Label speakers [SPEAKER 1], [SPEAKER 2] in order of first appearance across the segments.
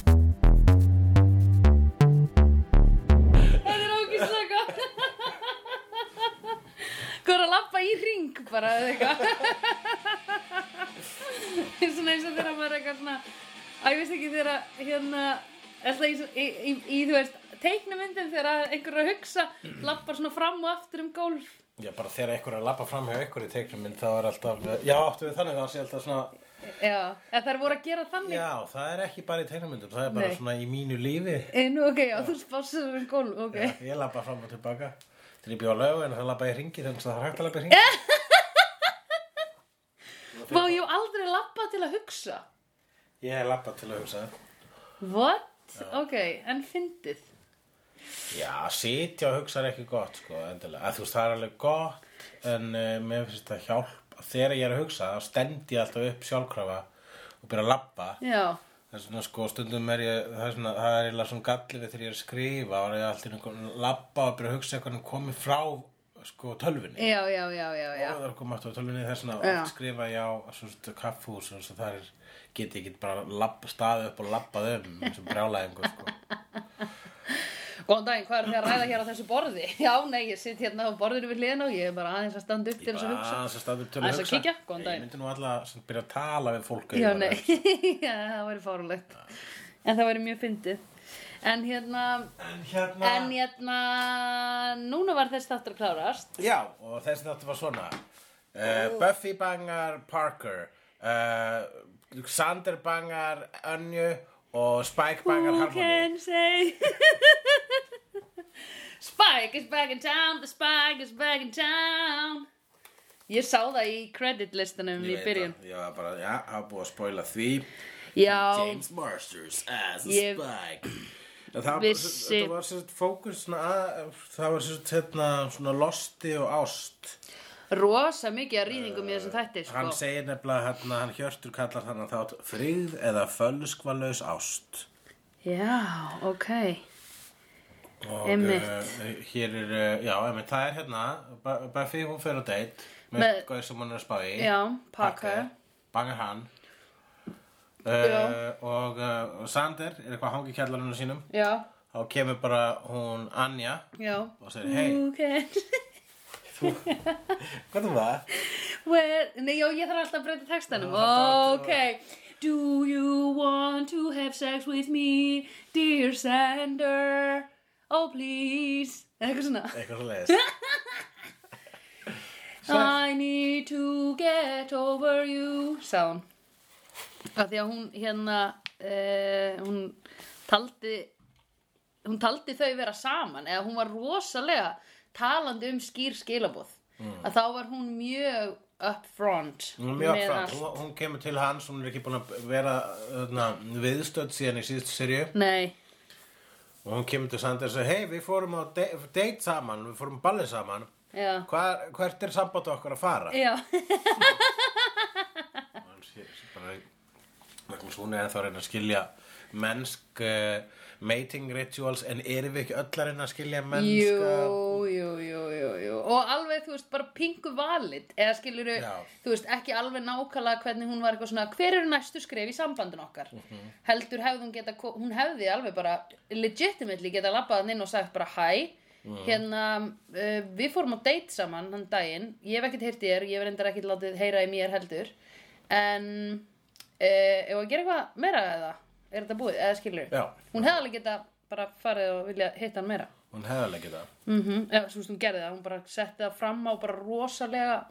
[SPEAKER 1] er svona eins og þegar maður er eitthvað svona að ég veist ekki þegar að, hérna alltaf í, í, í, í þú veist teiknumyndin þegar að einhver er að hugsa lappar svona fram og aftur um gólf
[SPEAKER 2] Já, bara þegar einhver er að labba fram hjá einhver í teiknum minn, þá er alltaf, já, áttu við þannig, það sé alltaf svona,
[SPEAKER 1] já, eða þær voru að gera þannig
[SPEAKER 2] já, það er ekki bara í teiknumyndum, það er bara
[SPEAKER 1] Nei.
[SPEAKER 2] svona í mínu lífi.
[SPEAKER 1] Eh, Nú, ok, já, þú spásar um gólf, ok
[SPEAKER 2] Já, ég labba fram og tilbaka. Þegar ég bjóð á laugu en það labba ég ringi, þannig að það er hægt að labba í
[SPEAKER 1] Eh?
[SPEAKER 2] ringi.
[SPEAKER 1] Vá, ég hef aldrei lappa til að hugsa
[SPEAKER 2] Ég er labba til að hugsa.
[SPEAKER 1] What? Ok, en fyndið
[SPEAKER 2] Já, sitja og hugsa er ekki gott, sko, endilega. Að, þú veist, það er alveg gott, en uh, mér finnst það hjálp. Þegar ég er að hugsa, þá stend ég alltaf upp sjálfkrafa og byrja að labba.
[SPEAKER 1] Já,
[SPEAKER 2] Það er svona sko, stundum er ég, það er svona, það er eiginlega svona galli við þegar ég er að skrifa og er ég alltaf einhvern labba og byrja að hugsa eitthvað komið frá, sko, tölvunni.
[SPEAKER 1] já, já, já, já, já.
[SPEAKER 2] Og það er komið aftur á tölvunni þess að
[SPEAKER 1] Já.
[SPEAKER 2] oft skrifa ég á svona kaffús og svo það er, get ég ekki bara labb, staðið upp og labbað um eins og brjálæðingu, sko.
[SPEAKER 1] Góðan daginn, hvað er þið að ræða hér á þessu borði? Já, nei, ég sitt hérna á borðinu við hliðin og ég er bara aðeins að standa upp til þess að hugsa.
[SPEAKER 2] Aðeins að staðið upp til
[SPEAKER 1] Aðeins
[SPEAKER 2] að
[SPEAKER 1] að
[SPEAKER 2] hugsa.
[SPEAKER 1] kíkja, góðan
[SPEAKER 2] Ég
[SPEAKER 1] daginn.
[SPEAKER 2] myndi nú alltaf svona byrja að tala við fólk.
[SPEAKER 1] Já,
[SPEAKER 2] auðvitað.
[SPEAKER 1] nei, já, það væri fárulegt. En það væri mjög fyndið. En hérna,
[SPEAKER 2] En hérna,
[SPEAKER 1] en hérna, núna var þess þáttur að klárast.
[SPEAKER 2] já, og þessi þáttu var svona. Uh, Buffy bangar Parker, uh, Xander bangar Önju og Spike bangar
[SPEAKER 1] Who
[SPEAKER 2] Harmony.
[SPEAKER 1] can say? Spike is back in town, the Spike is back in town. Ég sá það í credit listanum í
[SPEAKER 2] Ég veit
[SPEAKER 1] byrjun.
[SPEAKER 2] það, Ég var bara, já, það var búið að spoila því.
[SPEAKER 1] Já,
[SPEAKER 2] James Marsters as a
[SPEAKER 1] Ég
[SPEAKER 2] Spike En Það,
[SPEAKER 1] vissi-
[SPEAKER 2] það var sérst fókus svona að, það var sérst hérna svona losti og ást
[SPEAKER 1] rosa mikið að rýðingum í þessum þætti, sko.
[SPEAKER 2] Hann segir nefnilega hérna, hann hjörtur kallar þannig þátt fríð eða fölskvalaus ást
[SPEAKER 1] Já, ok.
[SPEAKER 2] Og
[SPEAKER 1] Einmitt.
[SPEAKER 2] eh, hér er, eh, já, einmitt, það er hérna Bu- Buffy hún fer á date með
[SPEAKER 1] Með-
[SPEAKER 2] gauð sem hún er að spá í
[SPEAKER 1] Já, Parker.
[SPEAKER 2] Bangar hann
[SPEAKER 1] Já.
[SPEAKER 2] uh, og uh, Sander er eitthvað að hangi kjallarinu sínum
[SPEAKER 1] Já,
[SPEAKER 2] þá kemur bara hún Anja
[SPEAKER 1] já.
[SPEAKER 2] og segir hei,
[SPEAKER 1] Ok.
[SPEAKER 2] hvað er það?
[SPEAKER 1] Well, nei, já, ég þarf alltaf að breyta textanum.
[SPEAKER 2] Já, það
[SPEAKER 1] ok. Do you want to have sex with me, dear Sander? Oh, please. Eða Eitthvað svona.
[SPEAKER 2] Eitthvað svo leiðist.
[SPEAKER 1] I need to get over you. Sá hún. Af því að hún hérna, uh, hún taldi, hún taldi þau vera saman. Eða hún var rosalega talandi um skýr skilabóð. Að þá var hún mjög upfront.
[SPEAKER 2] Mm. Hún er mjög
[SPEAKER 1] með
[SPEAKER 2] fram,
[SPEAKER 1] allt.
[SPEAKER 2] hún, hún kemur til hans, hún er ekki búin að vera öðna, viðstödd síðan í síðustu serju
[SPEAKER 1] Nei,
[SPEAKER 2] og hún kemur til Sander og segir, hei, við fórum á de date saman, við fórum á ballið saman,
[SPEAKER 1] já.
[SPEAKER 2] Hvar, hvert er samband okkar að fara?
[SPEAKER 1] Já,
[SPEAKER 2] Hann sé- sé bara vegna þess að hún er ennþá að reyna að skilja mennsk uh, mating rituals en erum við ekki öll að reyna að skilja
[SPEAKER 1] jú,
[SPEAKER 2] mennska
[SPEAKER 1] jú, jú, jú, jú Og alveg, þú veist, bara pingu valid Eða skilur
[SPEAKER 2] Já.
[SPEAKER 1] þú veist, ekki alveg nákvæmlega hvernig hún var eitthvað svona Hver eru næstu skref í sambandin okkar?
[SPEAKER 2] Mhm.
[SPEAKER 1] Heldur hefði hún geta, hún hefði alveg bara Legitimately geta labbað hann inn og sagt bara hæ
[SPEAKER 2] Mhm.
[SPEAKER 1] Hérna, uh, við fórum á date saman hann daginn Ég hef ekkert heyrt í þér, ég hef reyndar ekkert látið heyra í mér heldur En, uh, ef að gera eitthvað meira eða? Er þetta búið? Eða skilur
[SPEAKER 2] Já.
[SPEAKER 1] Hún hefði alveg geta bara farið og vilja hitta hann meira
[SPEAKER 2] hún hefði alveg ekki það
[SPEAKER 1] mm -hmm. eða svo veist hún gerði það, hún bara setti það fram á bara rosalega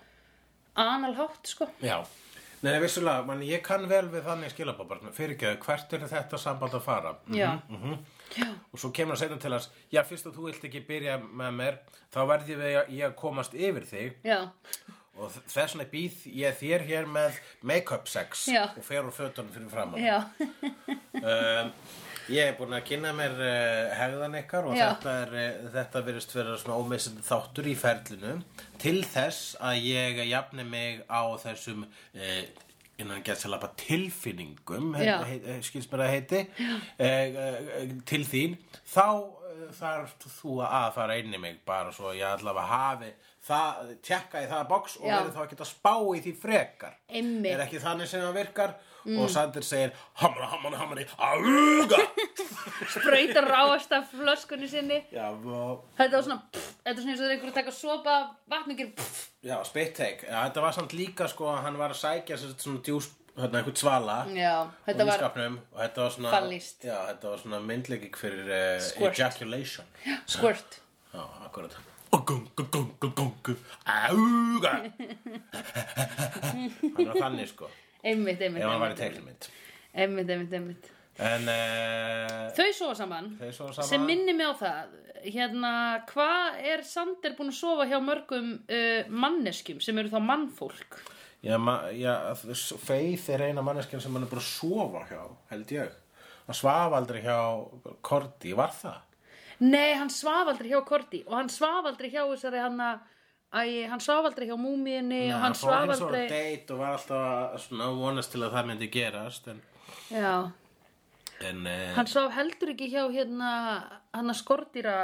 [SPEAKER 1] analhátt sko
[SPEAKER 2] já Nei, nei, vissulega, man, ég kann vel við þannig skilabóbarn, fyrirgjöðu, hvert er þetta samband að fara?
[SPEAKER 1] já,
[SPEAKER 2] mhm. Og svo kemur hann setna til hans, já, fyrst að þú vilt ekki byrja með mér, þá verði ég að, ég að komast yfir þig
[SPEAKER 1] já,
[SPEAKER 2] og þ- þess vegna býð ég þér hér með make-up sex
[SPEAKER 1] Já.
[SPEAKER 2] og fer úr fötunum fyrir framann.
[SPEAKER 1] já
[SPEAKER 2] um, ég hef búin að kynna mér uh, hegðan ykkar og
[SPEAKER 1] Já.
[SPEAKER 2] þetta, er, uh, þetta virðist vera svona ómissandi þáttur í ferlinu til þess að ég jafni mig á þessum uh, innan gæðsalapa tilfinningum
[SPEAKER 1] Já.
[SPEAKER 2] heit, heit, heit, skils mér að heiti eh, eh, til þín þá eh, þarf þú að fara inn í mig bara svo ég allavega hafi það, tjekka í það box og
[SPEAKER 1] Já.
[SPEAKER 2] verður þá að geta spá í því frekar
[SPEAKER 1] Einmitt. Mm.
[SPEAKER 2] er ekki þannig sem það virkar og Sander segir hamra, hamra, hamra, auga
[SPEAKER 1] sprautar ráast af flöskunni sinni
[SPEAKER 2] já, og,
[SPEAKER 1] þetta var svona pff, þetta er svona eins og þeir einhverju taka sopa af vatn og gera pff,
[SPEAKER 2] já, spittek já, þetta var samt líka sko að hann var að sækja sér, svona djús hérna einhvern svala
[SPEAKER 1] Já, Mm. þetta
[SPEAKER 2] og í
[SPEAKER 1] var
[SPEAKER 2] skapnum og þetta var svona,
[SPEAKER 1] Fallist.
[SPEAKER 2] já, þetta var svona myndleikik fyrir uh,
[SPEAKER 1] Squirt.
[SPEAKER 2] ejaculation já,
[SPEAKER 1] squirt
[SPEAKER 2] akkurat og gungu, gungu, gungu auga hann var þannig sko ef
[SPEAKER 1] Einmitt, einmitt,
[SPEAKER 2] hann var í
[SPEAKER 1] einmitt,
[SPEAKER 2] teiknumynd
[SPEAKER 1] einmitt, einmitt, einmitt.
[SPEAKER 2] en uh,
[SPEAKER 1] Þau sofa saman
[SPEAKER 2] þau svo saman
[SPEAKER 1] sem minni mig á það hérna, hvað er Sander búin að sofa hjá mörgum uh, manneskjum sem eru þá mannfólk
[SPEAKER 2] já, ma- já, Faith er eina manneskjan sem hann er bara að sofa hjá held ég hann svaf aldrei hjá Korti, var það?
[SPEAKER 1] nei, hann svaf aldrei hjá Korti og hann svaf aldrei hjá þessari hann Æ, hann svaf aldrei hjá múmiðinni og hann
[SPEAKER 2] fór
[SPEAKER 1] svaf
[SPEAKER 2] eins og
[SPEAKER 1] aldrei
[SPEAKER 2] date og var alltaf að- svona að vonast til að það myndi gerast en,
[SPEAKER 1] Já,
[SPEAKER 2] en eh,
[SPEAKER 1] hann svaf heldur ekki hjá hérna hann að skordýra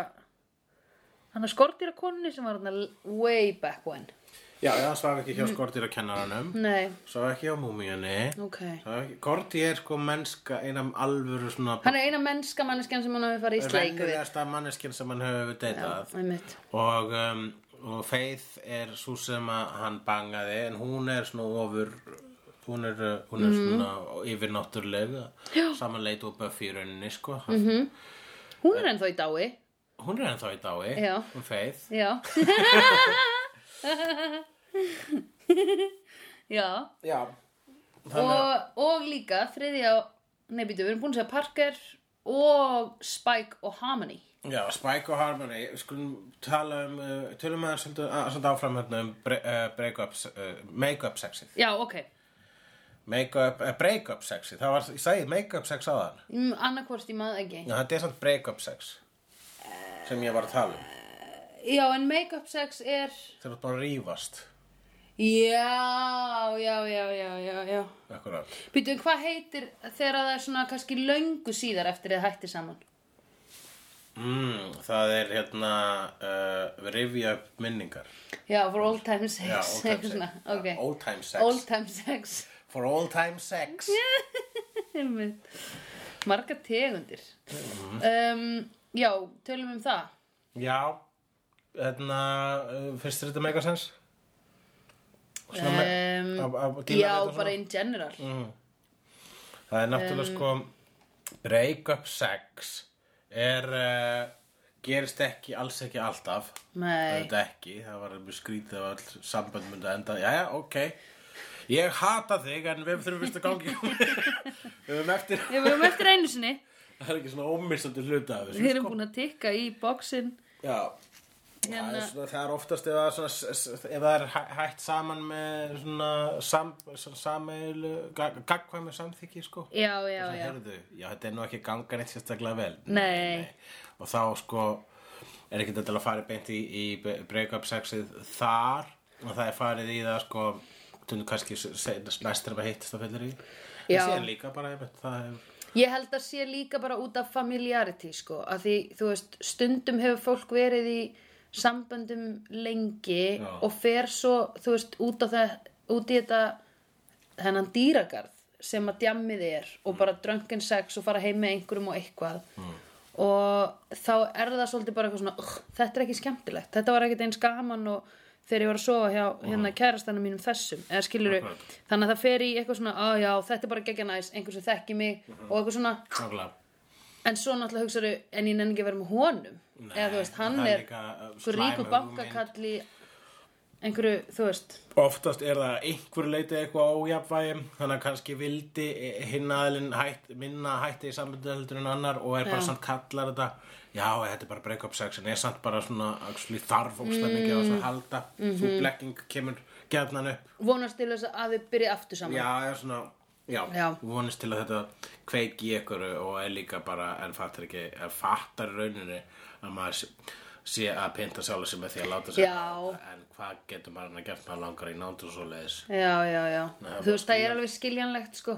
[SPEAKER 1] hann að skordýra konni sem var hérna way back when
[SPEAKER 2] já, já, hann svaf ekki hjá Korti á kennaranum
[SPEAKER 1] nei,
[SPEAKER 2] svaf ekki hjá múmíunni
[SPEAKER 1] ok
[SPEAKER 2] Korti er sko mennska einam alvöru svona
[SPEAKER 1] hann er eina mennska manneskjan sem hann hefur farið í sleik við
[SPEAKER 2] vennilegasta manneskjan sem hann hefur deytað
[SPEAKER 1] Einmitt.
[SPEAKER 2] og, um, og Faith er svo sem að hann bangaði en hún er svona ofur hún er, uh, hún
[SPEAKER 1] Mhm.
[SPEAKER 2] er svona yfirnáttúrleg samanleit og Buffy í rauninni sko.
[SPEAKER 1] Mhm.
[SPEAKER 2] -hmm.
[SPEAKER 1] hún er ennþá í dái
[SPEAKER 2] hún er ennþá í dái
[SPEAKER 1] Já.
[SPEAKER 2] hún Faith
[SPEAKER 1] Já Já
[SPEAKER 2] Já.
[SPEAKER 1] og, og líka þriðja Nei, býtu, við erum búin að segja Parker og Spike og Harmony
[SPEAKER 2] Já, Spike og Harmony, við skulum tala um, uh, tölum aðeins svolítið- að svolítið áfram hérna um bre uh, break-up, uh, make-up sexið.
[SPEAKER 1] Já, ok
[SPEAKER 2] Make-up, uh, break-up sexið, það var, ég sagði make-up sex á þann.
[SPEAKER 1] mm, Annarkvort ég maður ekki
[SPEAKER 2] Já, þetta er samt break-up sex sem ég var að tala um.
[SPEAKER 1] Já, en make-up sex er
[SPEAKER 2] Þeir eru bara að rífast,
[SPEAKER 1] Já, já, já, já, já, já
[SPEAKER 2] akkurat.
[SPEAKER 1] Býtu, en hvað heitir þegar það er svona kannski löngu síðar eftir þið hættir saman?
[SPEAKER 2] Mm, það er hérna, uh, við rifja upp minningar.
[SPEAKER 1] Já, for old time sex
[SPEAKER 2] Já, old time
[SPEAKER 1] eitthvað svona,
[SPEAKER 2] sex.
[SPEAKER 1] ok.
[SPEAKER 2] Já, Old time sex.
[SPEAKER 1] Old time sex
[SPEAKER 2] For old time sex.
[SPEAKER 1] Einmitt. Marga tegundir
[SPEAKER 2] Mhm.
[SPEAKER 1] um, Já, tölum um það
[SPEAKER 2] Já, hérna, uh, finnst þér þetta make-up sense? Svona
[SPEAKER 1] um,
[SPEAKER 2] með- að- að
[SPEAKER 1] Já,
[SPEAKER 2] díla við þetta svona? Mm.
[SPEAKER 1] bara in general
[SPEAKER 2] Það er náttúrulega
[SPEAKER 1] um,
[SPEAKER 2] sko break-up sex er uh, gerist ekki, alls ekki alltaf
[SPEAKER 1] Nei,
[SPEAKER 2] þetta ekki, það var mjög skrítið af all sambönd myndi enda, jæja, ok ég hata þig en við þurfum vist að gangi við höfum eftir
[SPEAKER 1] Ég, við erum eftir einu sinni
[SPEAKER 2] það er ekki svona ómissandi hluta af
[SPEAKER 1] Við
[SPEAKER 2] þessu
[SPEAKER 1] erum búin að tikka í boxin
[SPEAKER 2] já Það er,
[SPEAKER 1] Hérna-
[SPEAKER 2] svona, það er oftast ef það, er svona, s- s- ef það er hæ- hægt saman með svona sam, sameilu, gagkvæmi samþykki sko.
[SPEAKER 1] Já, já,
[SPEAKER 2] Það
[SPEAKER 1] já
[SPEAKER 2] herðu, já, þetta er nú ekki ganga neitt sérstaklega vel.
[SPEAKER 1] Nei.
[SPEAKER 2] Og þá sko er ekki þetta að fara beint í, í break-up sexið þar og það er farið í það sko tundur kannski næstur að hittist að fyllir í.
[SPEAKER 1] Já.
[SPEAKER 2] Það sé líka bara, ég veit, það er
[SPEAKER 1] Ég held að sé líka bara út af familiarity sko, að því, þú veist, stundum hefur fólk verið í samböndum lengi
[SPEAKER 2] Já.
[SPEAKER 1] og fer svo, þú veist, út á það út í þetta þennan dýragarð sem að djammið er
[SPEAKER 2] Mm.
[SPEAKER 1] og bara drunken sex og fara heim með einhverjum og eitthvað og þá er það svolítið bara eitthvað svona "Ugh, þetta er ekki skemmtilegt, þetta var ekkit eins gaman og þegar ég var að sofa hjá
[SPEAKER 2] Mm.
[SPEAKER 1] hérna kærastanum mínum þessum, eða skilur þannig að það fer í eitthvað svona, á já, þetta er bara geggja næs, einhver sem þekki mig
[SPEAKER 2] Mm-hmm.
[SPEAKER 1] og eitthvað svona,
[SPEAKER 2] nákvæmlega.
[SPEAKER 1] en svo náttúrulega hugsaðu en ég nenni ekki að vera með honum eða þú veist, hann
[SPEAKER 2] það
[SPEAKER 1] er
[SPEAKER 2] líka, uh,
[SPEAKER 1] einhver
[SPEAKER 2] slæm
[SPEAKER 1] ríku
[SPEAKER 2] hugmynd.
[SPEAKER 1] bankakalli einhverju, þú veist
[SPEAKER 2] Oftast er það einhver leiti eitthvað ójafvægi, þannig að kannski vildi hinn aðlinn hætt, minna hætti í sambundu heldur en annar og er bara
[SPEAKER 1] Já.
[SPEAKER 2] samt kallar þetta, já þetta er bara break-up sex en er samt bara svona actually, þarf ógstlega mikið á
[SPEAKER 1] Mm,
[SPEAKER 2] þess að halda,
[SPEAKER 1] mhm.
[SPEAKER 2] svo blekking kemur gætnan upp,
[SPEAKER 1] vonast til þess að þau byrja aftur saman
[SPEAKER 2] já er svona, já,
[SPEAKER 1] Já.
[SPEAKER 2] vonist til að þetta kveiki í ykkur og er líka bara en fattar ekki, en fattar í rauninni að maður sé- sé að pynta sjálf sem með því að láta sig
[SPEAKER 1] Já.
[SPEAKER 2] en hvað getur maður hann að gert maður langar í nándur svo leiðis
[SPEAKER 1] Já, já, já.
[SPEAKER 2] það
[SPEAKER 1] þú veist, það er alveg skiljanlegt, sko.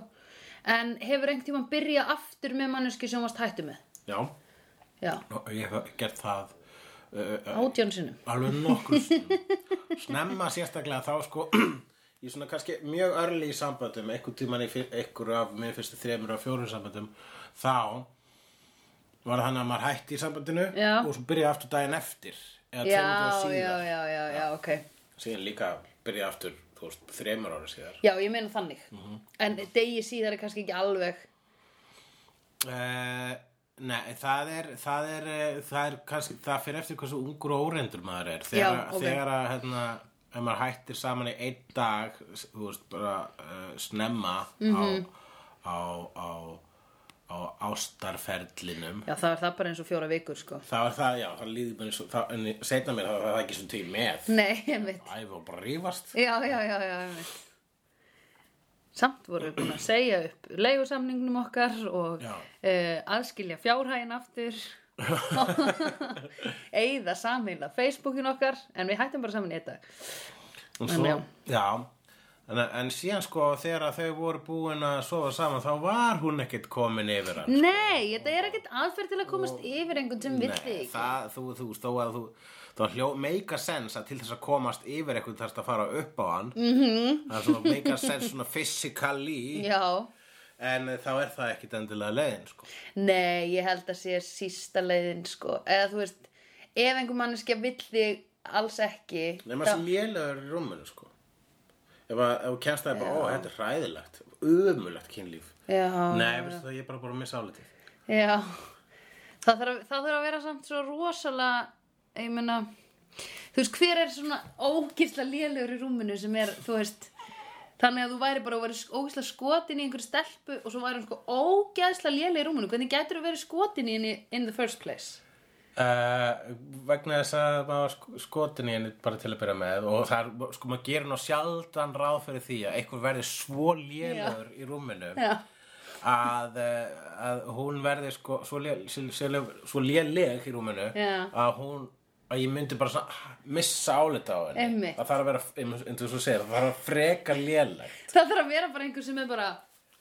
[SPEAKER 1] En hefur einhvern tímann byrja aftur með manneski sem þú varst hættu með?
[SPEAKER 2] Já,
[SPEAKER 1] Já,
[SPEAKER 2] Nú, ég hef gert það uh, uh,
[SPEAKER 1] átjón sinum.
[SPEAKER 2] alveg nokkur sinnum. snemma sérstaklega þá sko í svona kannski mjög örli í samböndum einhver tíman í fyr- einhver af mér fyrstu þremur og fjórum samböndum þá var það þannig að maður hætti í samböndinu
[SPEAKER 1] Já.
[SPEAKER 2] og svo byrjaði aftur daginn eftir
[SPEAKER 1] Já,
[SPEAKER 2] eða tveimur dögum
[SPEAKER 1] já,
[SPEAKER 2] síðar
[SPEAKER 1] já, já, já, ok.
[SPEAKER 2] síðan líka byrjaði aftur þú þú veist, þremur ára síðar
[SPEAKER 1] Já, ég meina þannig. En degi síðar er kannski ekki alveg.
[SPEAKER 2] Uh, nei, það er það er, eh, það er kannski, það fyrir eftir hversu ungur og óreyndur maður er þegar,
[SPEAKER 1] Já, ok.
[SPEAKER 2] þegar að, hérna, ef maður hættir saman í einn dag s- þú veist, bara uh, snemma
[SPEAKER 1] Mhm.
[SPEAKER 2] á, á, á, á ástarferlinum
[SPEAKER 1] Já, það er það bara eins og fjóra vikur, sko.
[SPEAKER 2] þá er það, já, það líður bara eins og það, en seinna mér, það, það er ekki svona tíu með
[SPEAKER 1] Nei, einmitt.
[SPEAKER 2] æfa og bara rífast
[SPEAKER 1] Já, já, já, já, einmitt. Samt vorum við búin að segja upp leigusamningnum okkar og
[SPEAKER 2] Já.
[SPEAKER 1] uh, aðskilja fjárhægin aftur. Eyða samheila Facebookin okkar, en við hættum bara saman í þetta. En
[SPEAKER 2] En svo,
[SPEAKER 1] já.
[SPEAKER 2] já en, en síðan sko þegar að þau voru búin að sofa saman þá var hún ekkert komin yfir hann
[SPEAKER 1] Nei, þetta er ekkert aðferð til að komast yfir einhvern sem vill
[SPEAKER 2] Nei,
[SPEAKER 1] þig.
[SPEAKER 2] það, þú, þú, þó að þú þá hljó, make a sense að til þess að komast yfir eitthvað þarst að fara upp á hann -hmm. það er svona make a sense svona physically
[SPEAKER 1] Mhm. Já,
[SPEAKER 2] en þá er það ekkit endilega leiðin sko.
[SPEAKER 1] Nei, ég held að sé sísta leiðin sko. eða þú veist, ef einhver manneskja vill þig alls ekki
[SPEAKER 2] nema sem lélegur í rúmunu sko. ef að ef þú kemst það er bara, ó, þetta er hræðilegt umulegt kynlíf
[SPEAKER 1] Já,
[SPEAKER 2] Nei, veistu það, ég er bara bara að missa álitið
[SPEAKER 1] já. Það, þarf, að- það þarf að vera samt svo rosalega ég meina þú veist, hver er svona ógisla lélegur í rúminu sem er, þú veist þannig að þú væri bara að vera ógisla skotin í einhverju stelpu og svo væri hún sko ógeðsla léleg í rúminu hvernig getur þú verið skotin í henni in the first place?
[SPEAKER 2] Uh, vegna þess að maður var sk- skotin í henni bara til að byrja með og það er, sko maður gerir ná sjaldan ráð fyrir því að einhver verði svo lélegur í rúminu
[SPEAKER 1] Já,
[SPEAKER 2] að, uh, að hún verði sko svo, lé, svo, svo, svo léleg í rúminu
[SPEAKER 1] Já.
[SPEAKER 2] að hún að ég myndi bara svona, ah, missa álita á henni
[SPEAKER 1] Einmitt.
[SPEAKER 2] það þarf að vera, einmitt eins og þú segir, það þarf að freka léleg
[SPEAKER 1] það þarf að vera bara einhver sem er bara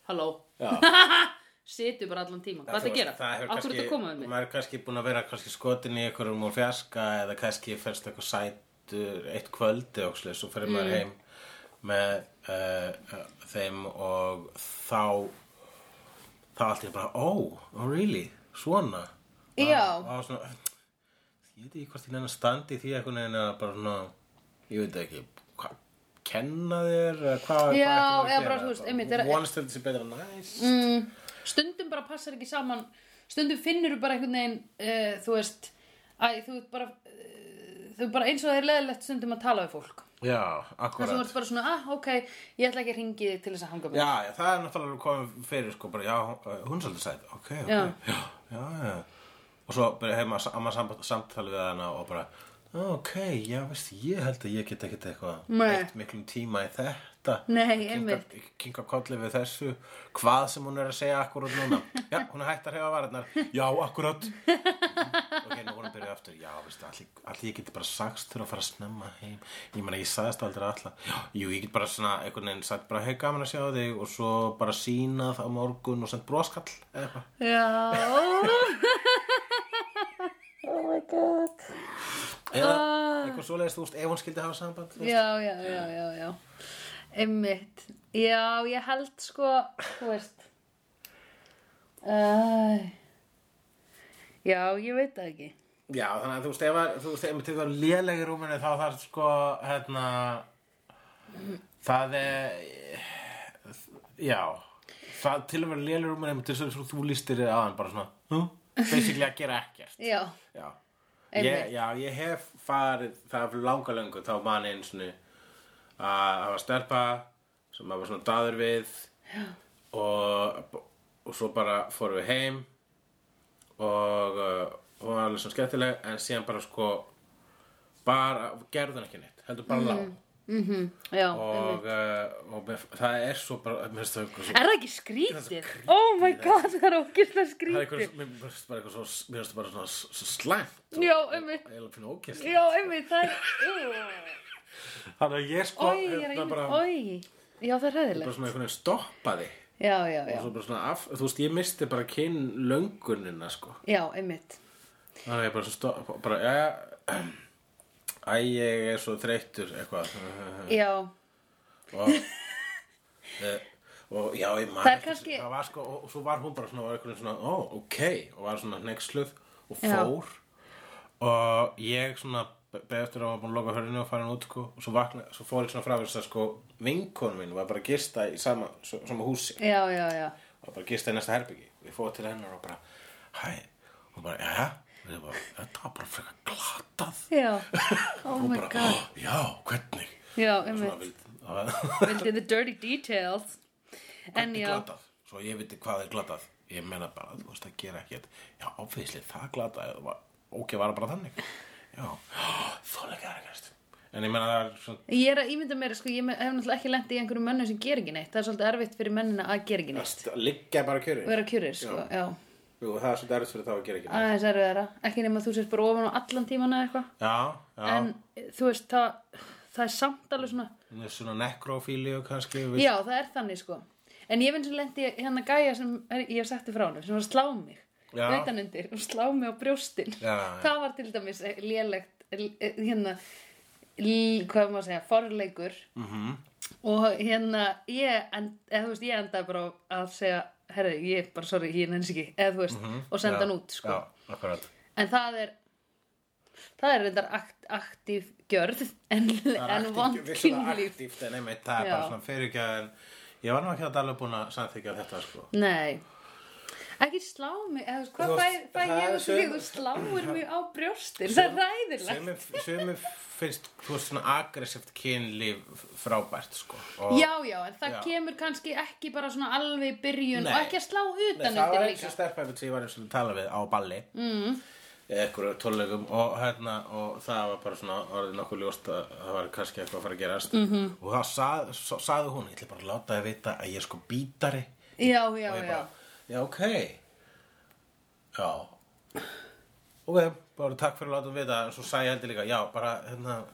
[SPEAKER 1] halló situr bara allan tíma, hvað það að gera?
[SPEAKER 2] Það hefur
[SPEAKER 1] Akkur þetta
[SPEAKER 2] kannski,
[SPEAKER 1] komaði mig
[SPEAKER 2] maður er kannski búin að vera kannski skotin í einhverjum úr fjarska eða kannski fyrst eitthvað sætur eitt kvöldi og slið, svo fyrir
[SPEAKER 1] Mm.
[SPEAKER 2] maður heim með uh, uh, þeim og þá þá allt er bara, oh, oh really, svona
[SPEAKER 1] Já,
[SPEAKER 2] og svona, ég veit ekki hvort ég nennan standi í því eitthvað neina bara svona, ég veit ekki hvað, kenna þér eða hvað,
[SPEAKER 1] Já,
[SPEAKER 2] hvað
[SPEAKER 1] eða bara, þú veist, einmitt, er-
[SPEAKER 2] vonast þetta sé betra næst
[SPEAKER 1] mm, stundum bara passar ekki saman stundum finnur þú bara einhvern veginn uh, þú veist æ, þú ert bara uh, þú ert bara eins og það er leðilegt stundum að tala við fólk
[SPEAKER 2] já,
[SPEAKER 1] þess að þú
[SPEAKER 2] akkurat
[SPEAKER 1] ert bara svona, ah, ok, ég ætla ekki að ringi þig til þess að hanga með
[SPEAKER 2] Já, já, það er náttúrulega komið fyrir sko, bara, já, hún er svolítið sæt, ok, ok,
[SPEAKER 1] Já.
[SPEAKER 2] já, já, já. Og svo bara hefur maður amma samband, samtali við hana og bara, ok, já, veist, ég held að ég get ekkert eitthvað,
[SPEAKER 1] Nei.
[SPEAKER 2] eitt miklum tíma í þetta.
[SPEAKER 1] Nei,
[SPEAKER 2] Kinka-
[SPEAKER 1] einmitt.
[SPEAKER 2] Kinka kolli við þessu, hvað sem hún er að segja akkurat núna. Já, hún er hægt að hefa varirnar, já, akkurat. ok, nú vorum byrjuð aftur, já, veist, allir, allir ég geti bara sagst þurfa að fara að snemma heim ég meina, ég sagðist aldrei alltaf já, jú, ég get bara svona, einhvern veginn sagt bara hei, gaman að sjá þig og svo bara sýnað á morgun og sent broskall eða eitthvað.
[SPEAKER 1] Já,
[SPEAKER 2] eða
[SPEAKER 1] Ah.
[SPEAKER 2] eitthvað svoleiðist, þú veist, ef hún skildi hafa samband þú veist.
[SPEAKER 1] já, já, já, já, já. einmitt já, ég held sko þú veist uh, já, ég veit það ekki
[SPEAKER 2] já, þannig að þú veist, ef að- þú veist, ef það er léleg í rúminu þá þarf sko, hérna það er já það til að vera léleg í rúminu til þess að þú lístir þig aðan bara svona, hm, basically að gera ekkert
[SPEAKER 1] já,
[SPEAKER 2] Já.
[SPEAKER 1] Einmitt.
[SPEAKER 2] Ég, já, ég hef farið það er langa löngu, þá man ég eins og að hafa stelpa sem maður var svona daður við og, og svo bara fórum við heim og uh, hún var alveg svona skemmtileg en síðan bara sko bara gerðan ekki neitt, heldur bara
[SPEAKER 1] Mhm.
[SPEAKER 2] mm.
[SPEAKER 1] já
[SPEAKER 2] lá og, uh, og með, það er svo bara mér finnst það eitthvað svo
[SPEAKER 1] Er það ekki skrítið?
[SPEAKER 2] skrítið.
[SPEAKER 1] Oh my god, það er ógislega
[SPEAKER 2] það er
[SPEAKER 1] skrítið.
[SPEAKER 2] eitthvað, mér finnst bara eitthvað svo mér finnst það bara svona s- svo slæmt
[SPEAKER 1] Já, einmitt.
[SPEAKER 2] og eiginlega finna ókist
[SPEAKER 1] Já, einmitt, það er...
[SPEAKER 2] þannig að ég sko
[SPEAKER 1] Ói, ég er
[SPEAKER 2] hérna,
[SPEAKER 1] einmitt,
[SPEAKER 2] bara-
[SPEAKER 1] ói. Já, það er
[SPEAKER 2] bara
[SPEAKER 1] hæðilegt.
[SPEAKER 2] svona einhvern veginn stoppaði
[SPEAKER 1] Já, já, já.
[SPEAKER 2] og svo bara svona af, þú veist, ég misti bara kyn löngunina, sko
[SPEAKER 1] Já, einmitt.
[SPEAKER 2] þannig að ég bara svona stopp, bara, ja, æ, ég er svo þreyttur eitthvað
[SPEAKER 1] Já,
[SPEAKER 2] og, e, og já, ég man
[SPEAKER 1] Það er
[SPEAKER 2] eftir-
[SPEAKER 1] kannski-
[SPEAKER 2] það var sko, og, og svo var hún bara svona, var einhvern veginn svona, ó, ok og var svona hneiksluð og
[SPEAKER 1] Já.
[SPEAKER 2] fór og ég svona beðið eftir að hann var búin að loka hörinu og farin út sko, og svo, vakna, svo fór ég svona frá þess að sko, vinkonu mín var bara að gista í sama, svo- sama húsi
[SPEAKER 1] já, já, já.
[SPEAKER 2] var bara að gista í næsta herbyggi ég fóð til hennar og bara hæ, hún bara, jæja Og ég bara, þetta var bara frekar glatað
[SPEAKER 1] Já, oh
[SPEAKER 2] og
[SPEAKER 1] my
[SPEAKER 2] bara,
[SPEAKER 1] god.
[SPEAKER 2] "Ó, já, hvernig
[SPEAKER 1] Já,
[SPEAKER 2] svona
[SPEAKER 1] einmitt.
[SPEAKER 2] vild það
[SPEAKER 1] Vildi the dirty details. En
[SPEAKER 2] er
[SPEAKER 1] já,
[SPEAKER 2] glatað, svo ég veit hvað er glatað ég meina bara, þú veist að gera ekkert já, ofisli, það er glatað Það var- ok, var það bara þannig já, þóla ekki aðra gerst en ég meina það er svona
[SPEAKER 1] ég er að ímynda mér, sko, ég me- hef náttúrulega ekki lent í einhverjum mönnum sem ger ekki neitt. Það er svolítið erfitt fyrir mennina að gera ekki neitt.
[SPEAKER 2] að liggja bara kjöri
[SPEAKER 1] Vera kjurir, sko, já.
[SPEAKER 2] Jú, það er svolítið erfitt fyrir þá að gera ekki neitt.
[SPEAKER 1] Aðeins erfiðara. Ekki nema þú sért bara ofan á allan tíman eða eitthvað.
[SPEAKER 2] já, já,
[SPEAKER 1] En þú veist, það, það er samt alveg svona...
[SPEAKER 2] en, svona nekrofílíu kannski við-
[SPEAKER 1] Já, það er þannig sko En ég finn sem lendi í hérna gæja sem er, ég hef sagt þér frá hann, sem var að slá mig
[SPEAKER 2] Já.
[SPEAKER 1] utanundir og slá mig á brjóstin
[SPEAKER 2] Já, já.
[SPEAKER 1] Það var til dæmis eh, lélegt eh, eh, hérna l- hvað maður að segja, forleikur
[SPEAKER 2] Mhm.
[SPEAKER 1] og hérna ég, en, eða, þú veist, ég endaði bara á að segja herri, ég er bara, sorry, ég nenns ekki eða þú veist, og senda
[SPEAKER 2] Mhm. Já,
[SPEAKER 1] hann út sko.
[SPEAKER 2] já, akkurat
[SPEAKER 1] en það er það er reyndar akt, aktíf gjörð en, en vond kynlíf
[SPEAKER 2] aktíft en einmitt, það er
[SPEAKER 1] Já.
[SPEAKER 2] bara svona fyrirgjöð en ég var nú ekki alltaf alveg búin að samþykja þetta sko
[SPEAKER 1] Nei Ekki slá mig, eða þú veist,
[SPEAKER 2] Þú
[SPEAKER 1] hvað fæ,
[SPEAKER 2] veist,
[SPEAKER 1] fæ
[SPEAKER 2] það
[SPEAKER 1] ég
[SPEAKER 2] er
[SPEAKER 1] út því
[SPEAKER 2] sum-
[SPEAKER 1] þú sláir mig á brjóstin, það er ræðilegt
[SPEAKER 2] Sumi, sumi finnst þú veist svona aggressivt kynlíf frábært sko og
[SPEAKER 1] Já, já, en það
[SPEAKER 2] Já.
[SPEAKER 1] kemur kannski ekki bara svona alveg í byrjun
[SPEAKER 2] Nei.
[SPEAKER 1] og ekki að slá
[SPEAKER 2] Nei,
[SPEAKER 1] utan
[SPEAKER 2] það var
[SPEAKER 1] eftir
[SPEAKER 2] eins
[SPEAKER 1] líka
[SPEAKER 2] og stelpa einmitt sem ég var eins og að tala við á balli mm. eitthvað tónleikum og hérna og það var bara svona orðið nokkuð ljóst að það var kannski eitthvað að fara að gerast mm -hmm.
[SPEAKER 1] Mhm.
[SPEAKER 2] og þá sað, sa- sagði hún ég ætla bara að láta þið vita að ég er sko bítari
[SPEAKER 1] Já, já,
[SPEAKER 2] og ég
[SPEAKER 1] já
[SPEAKER 2] bara, já ok já ok, bara takk fyrir að láta þið vita en svo sagði ég heldur líka, já bara hérna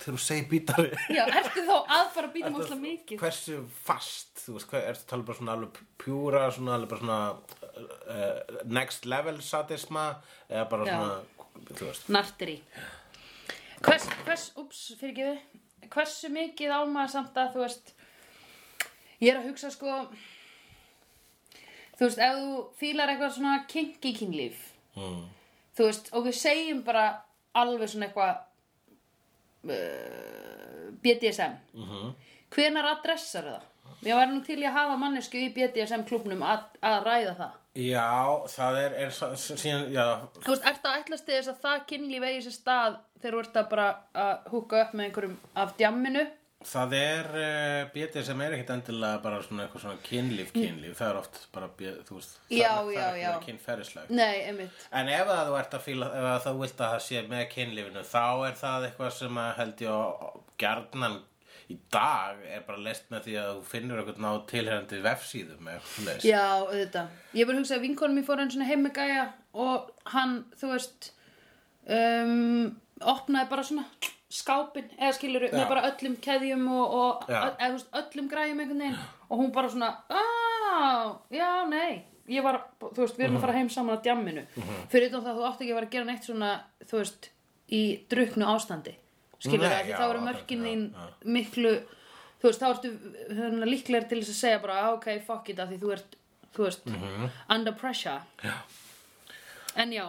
[SPEAKER 2] þegar þú segir bítari
[SPEAKER 1] Já, ertu þá að fara að býta
[SPEAKER 2] Ertu-
[SPEAKER 1] mjög mikið
[SPEAKER 2] Hversu fast, þú veist, hver, ertu að tala bara svona alveg pjúra, svona alveg bara svona uh, next level sadisma eða bara
[SPEAKER 1] Já.
[SPEAKER 2] svona, þú veist
[SPEAKER 1] Nartir í Hvers, hvers, ups, fyrir Hversu mikið á maður samt að þú veist Ég er að hugsa sko Þú veist, ef þú fílar eitthvað svona kinky kinglíf
[SPEAKER 2] mm.
[SPEAKER 1] þú veist, og við segjum bara alveg svona eitthvað uh, BDSM mm hvenar adressar það? Ég væri nú til í að hafa mannesku í BDSM klubnum að, að ræða það
[SPEAKER 2] Já, það er, er svo- svo- síðan, já,
[SPEAKER 1] Þú veist, ert að ætlast til þess að það kynlíf eigi sér stað þegar þú ert að bara að húka upp með einhverjum af djamminu
[SPEAKER 2] það er uh, bjötið sem er ekkit endilega bara svona eitthvað svona kynlíf, kynlíf, það er oft bara, bjöð, þú veist, það,
[SPEAKER 1] Já,
[SPEAKER 2] það
[SPEAKER 1] já,
[SPEAKER 2] er
[SPEAKER 1] já.
[SPEAKER 2] ekki kynferðislegt
[SPEAKER 1] Nei, einmitt
[SPEAKER 2] En ef að þú ert að fíla, ef að þú vilt að það sé með kynlífinu, þá er það eitthvað sem að held ég að gjarnan í dag er bara lest með því að þú finnur eitthvað ná tilherrandi vefsíðum eða eitthvað leist.
[SPEAKER 1] Já, auðvitað Ég bara hugsa að vinkonum mín fór hann svona heim með gæja og hann, þú veist um, opnaði bara svona skápin eða skilur
[SPEAKER 2] Já.
[SPEAKER 1] með bara öllum keðjum og, og
[SPEAKER 2] Já.
[SPEAKER 1] ö- eða, þú veist, öllum græjum einhvern veginn og hún bara svona "Á, já, nei ég var, þú veist, við
[SPEAKER 2] Mhm.
[SPEAKER 1] erum að fara heim saman að djamminu fyrir utan það að þú átt ekki að vera að gera neitt svona, þú veist, í druknu ástandi skilur
[SPEAKER 2] Nei,
[SPEAKER 1] það, því
[SPEAKER 2] já,
[SPEAKER 1] þá eru
[SPEAKER 2] akkurat,
[SPEAKER 1] mörkin
[SPEAKER 2] já,
[SPEAKER 1] þín
[SPEAKER 2] já.
[SPEAKER 1] miklu þú veist, þá ertu hérna, líklegir til þess að segja bara "Ah, ok, fuck it, af því þú ert, þú veist
[SPEAKER 2] Mhm.
[SPEAKER 1] under pressure já. en já,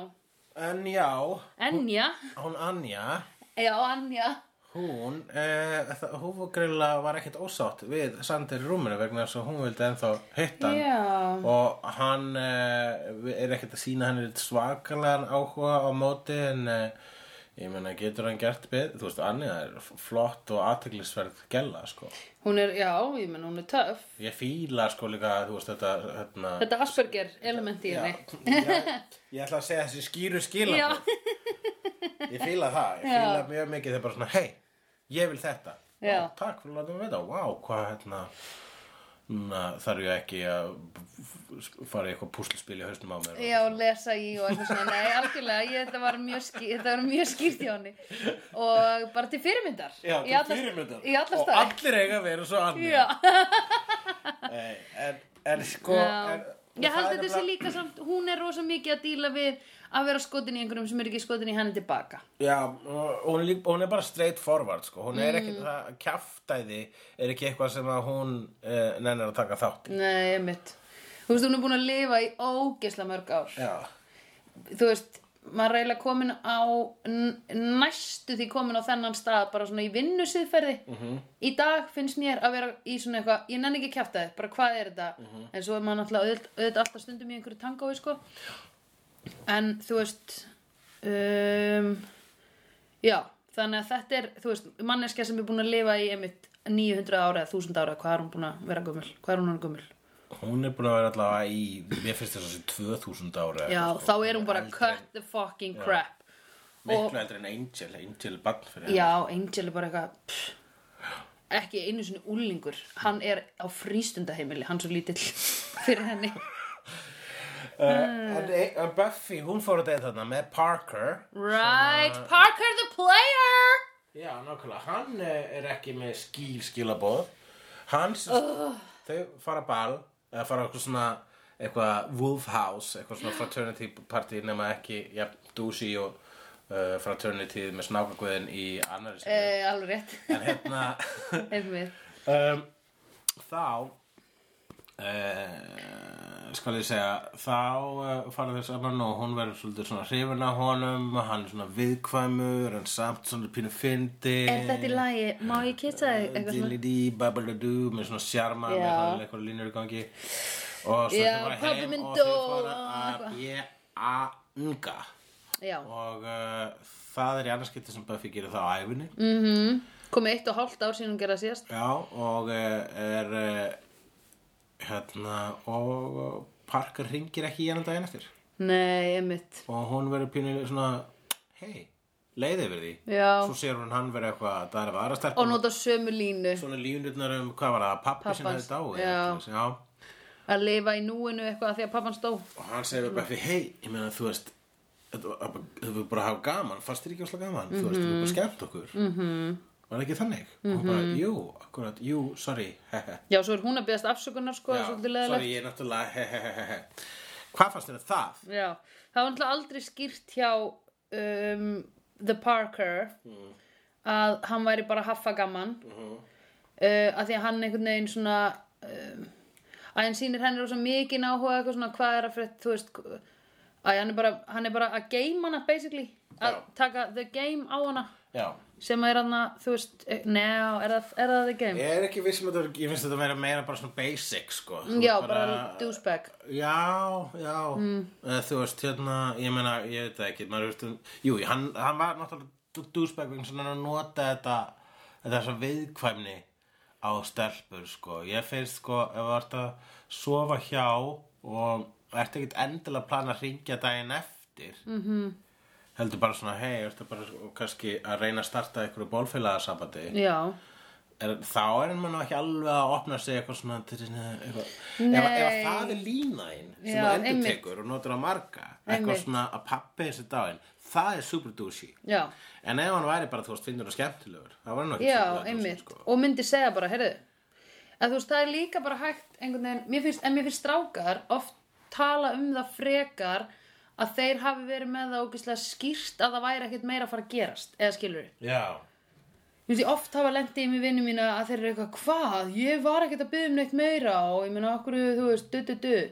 [SPEAKER 2] En já,
[SPEAKER 1] en já
[SPEAKER 2] hún Anja,
[SPEAKER 1] já, en já
[SPEAKER 2] hún, eh, það, hún var greiðlega var ekkit ósátt við Sander í rúminu vegna þess að hún vildi ennþá hitta hann.
[SPEAKER 1] Já,
[SPEAKER 2] Og hann eh, er ekkert að sína hann er svakalega áhuga á móti en eh, ég meina getur hann gert betur, þú veist, Anja er f- flott og aðteglisverð gella, sko.
[SPEAKER 1] hún er, já, ég menn hún er töff
[SPEAKER 2] Ég fíla sko líka, þú veist, þetta, hérna,
[SPEAKER 1] Þetta Asperger element í henni
[SPEAKER 2] ég, ég ætla að segja þessi skýru skila,
[SPEAKER 1] Já,
[SPEAKER 2] ég fíla það, ég
[SPEAKER 1] Já.
[SPEAKER 2] fíla mjög mikið þegar bara svona, hei, ég vil þetta.
[SPEAKER 1] Já.
[SPEAKER 2] Ó, takk fyrir að láta mig vita, vá, hvað, hérna, na, þarf ég ekki að fara í eitthvað púslspil í hausnum á mér. og-
[SPEAKER 1] já, lesa í og eitthvað svona Nei, algjörlega, ég, þetta, var mjög skýr, þetta var mjög skýrt hjá henni Og bara til fyrirmyndar
[SPEAKER 2] Já,
[SPEAKER 1] Í alla-
[SPEAKER 2] til fyrirmyndar
[SPEAKER 1] Í alla
[SPEAKER 2] Og
[SPEAKER 1] staði
[SPEAKER 2] allir eiga að vera svo annir
[SPEAKER 1] Já,
[SPEAKER 2] en, en sko
[SPEAKER 1] já.
[SPEAKER 2] en,
[SPEAKER 1] Ég held þetta sé líka samt Hún er rosa mikið að díla við að vera skotin í einhverjum sem er ekki skotin í henni tilbaka
[SPEAKER 2] Já, og hún, lík, hún er bara straight forward sko. Hún er
[SPEAKER 1] Mm.
[SPEAKER 2] ekki, það kjaftæði er ekki eitthvað sem að hún uh, nennir að taka þátt í
[SPEAKER 1] Nei, mitt Þú veist, hún er búin að lifa í ógesla mörg ár
[SPEAKER 2] Já,
[SPEAKER 1] þú veist maður er eiginlega komin á n- næstu því komin á þennan stað bara svona í vinnu síðferði -hmm. í dag finnst mér að vera í svona eitthvað ég nenni ekki að kjafta þið, bara hvað er þetta en svo er maður náttúrulega auðvitað, auðvitað alltaf stundum í einhverju tangói sko en þú veist um, já þannig að þetta er, þú veist, manneskja sem er búin að lifa í einmitt 900 ára eða 1000 ára, hvað er hún búin að vera gömul hvað er hún hann gömul?
[SPEAKER 2] Hún er búin að vera allavega í, mér finnst þess að þessi 2000 ára eða
[SPEAKER 1] Já,
[SPEAKER 2] eitthvað,
[SPEAKER 1] þá
[SPEAKER 2] sko.
[SPEAKER 1] er hún bara
[SPEAKER 2] Eldri-
[SPEAKER 1] cut the fucking crap og-
[SPEAKER 2] Miklu eldri en Angel, Angel er barn fyrir henni.
[SPEAKER 1] Já, Angel er bara eitthvað pff, ekki einu sinni úlingur hann er á frístundaheimili hann svo lítill fyrir henni
[SPEAKER 2] Uh, en- en Buffy, hún fór að deyja þarna með Parker
[SPEAKER 1] Right, Parker the player
[SPEAKER 2] Já, nákvæmlega, hann eh, er ekki með skýl skilabóð Hans, uh. þau fara á ball eða fara á eitthvað svona eitthvað Wolf House, eitthvað svona fraternity party nema ekki, já, Dúsi og uh, fraternity með snákagöðin í annari sem
[SPEAKER 1] eh, Alveg rétt,
[SPEAKER 2] en hérna
[SPEAKER 1] einmitt
[SPEAKER 2] um, þá Uh, skal ég segja þá uh, fara þess annan og hún verður svolítið svona hrifin af honum hann er svona viðkvæmur en samt svona pínu fyndi
[SPEAKER 1] Er þetta í lagi, má ég kitsa þig eitthvað svona?
[SPEAKER 2] Dilly-dee, babadadoo með svona sjarma
[SPEAKER 1] Já.
[SPEAKER 2] með svona eitthvað línur í gangi og svo
[SPEAKER 1] Já,
[SPEAKER 2] þau bara
[SPEAKER 1] pabbi
[SPEAKER 2] heim
[SPEAKER 1] minn
[SPEAKER 2] og
[SPEAKER 1] dó
[SPEAKER 2] þau fara
[SPEAKER 1] og
[SPEAKER 2] að
[SPEAKER 1] eitthvað.
[SPEAKER 2] bjanga
[SPEAKER 1] Já,
[SPEAKER 2] og uh, það er í annarskipti sem Buffy gerir það á æfinni
[SPEAKER 1] Mm. komið eitt og hálft ár síðan hún gerða síðast
[SPEAKER 2] já og uh, er uh, hérna og Parker ringir ekki í hennan daginn eftir
[SPEAKER 1] Nei, einmitt
[SPEAKER 2] og hún verður pínu svona hei, leið yfir því
[SPEAKER 1] Já.
[SPEAKER 2] svo sér hún hann verið eitthvað að það er aðra stelpa
[SPEAKER 1] Og nota sömu línu
[SPEAKER 2] svona línurnar um hvað var það, pappi sem
[SPEAKER 1] Pabbans,
[SPEAKER 2] hefði dáið
[SPEAKER 1] já.
[SPEAKER 2] eitthvað, já
[SPEAKER 1] að lifa í núinu eitthvað af því að pappan stó
[SPEAKER 2] og hann segir
[SPEAKER 1] Mm.
[SPEAKER 2] við Buffy, hei, ég meina þú veist þetta var- þú veist bara að hafa gaman fannst þér ekki óslega gaman, þú veist, þú veist
[SPEAKER 1] Mhm.
[SPEAKER 2] bara skemmt okkur mm -hmm. var það ekki þannig mm og hún bara, jú, akkurat, jú, sorry he he.
[SPEAKER 1] Já, svo er hún að beðast afsökunar sko,
[SPEAKER 2] Já,
[SPEAKER 1] svolítið leðilegt
[SPEAKER 2] sorry, ég er náttúrulega he he he he he hvað fannst þér að það?
[SPEAKER 1] Já, það var náttúrulega aldrei skýrt hjá um, The Parker að hann væri bara haffa gaman uh, að því að hann einhvern veginn svona um, að hann sýnir henni rosa mikið áhuga eitthvað svona hvað er að fyrir þú veist að hann er bara, hann er bara að game hana basically að
[SPEAKER 2] Já.
[SPEAKER 1] taka the game á hana
[SPEAKER 2] já,
[SPEAKER 1] sem er hann að þú veist eh, neða, er, það- er það the game?
[SPEAKER 2] ég er ekki vissum að þetta var- ég finnst þetta að vera meira bara svona basic sko, Þú
[SPEAKER 1] Já,
[SPEAKER 2] veist,
[SPEAKER 1] bara, douchebag
[SPEAKER 2] Já, já, mm. þú veist, hérna, ég meina, ég veit það ekki, maður veist, um, jú, hann, hann var náttúrulega dúsbæk vegna svona að nota þetta, þetta þessa viðkvæmni á stelpur, sko. Ég finnst, sko, ef þú ert að sofa hjá og ert ekkit endilega að plana að ringja daginn eftir, -hmm. heldur bara svona, hei, ertu bara sko, kannski að reyna að starta einhverju bólfélagarsambandi,
[SPEAKER 1] Já,
[SPEAKER 2] er, þá er hann nú ekki alveg að opna sig eitthvað svona til sinni, eitthvað.
[SPEAKER 1] Nei.
[SPEAKER 2] Ef, ef að það er línaðin sem
[SPEAKER 1] Já,
[SPEAKER 2] það endur
[SPEAKER 1] einmitt.
[SPEAKER 2] tekur og notur á marga eitthvað
[SPEAKER 1] Einmitt.
[SPEAKER 2] svona að pappi þessi daginn það er super douchey
[SPEAKER 1] já,
[SPEAKER 2] en ef hann væri bara, þú veist, finnur það skemmtilegur það var hann ekki
[SPEAKER 1] Já,
[SPEAKER 2] super douchey,
[SPEAKER 1] einmitt,
[SPEAKER 2] sko.
[SPEAKER 1] og myndi segja bara, heyrðu að þú veist, það er líka bara hægt einhvern veginn, mér finnst, en mér finnst strákar oft tala um það frekar að þeir hafi verið með það ógislega skýrt að það væri ekkert meira að fara að gerast eða skilur við,
[SPEAKER 2] Já,
[SPEAKER 1] þú veist, ég oft hafa lendið í mér vinnu mína að þeir eru eitthvað, hvað, ég var ekkert að byggja um neitt meira og ég meina, okkur, þú veist, du, du, du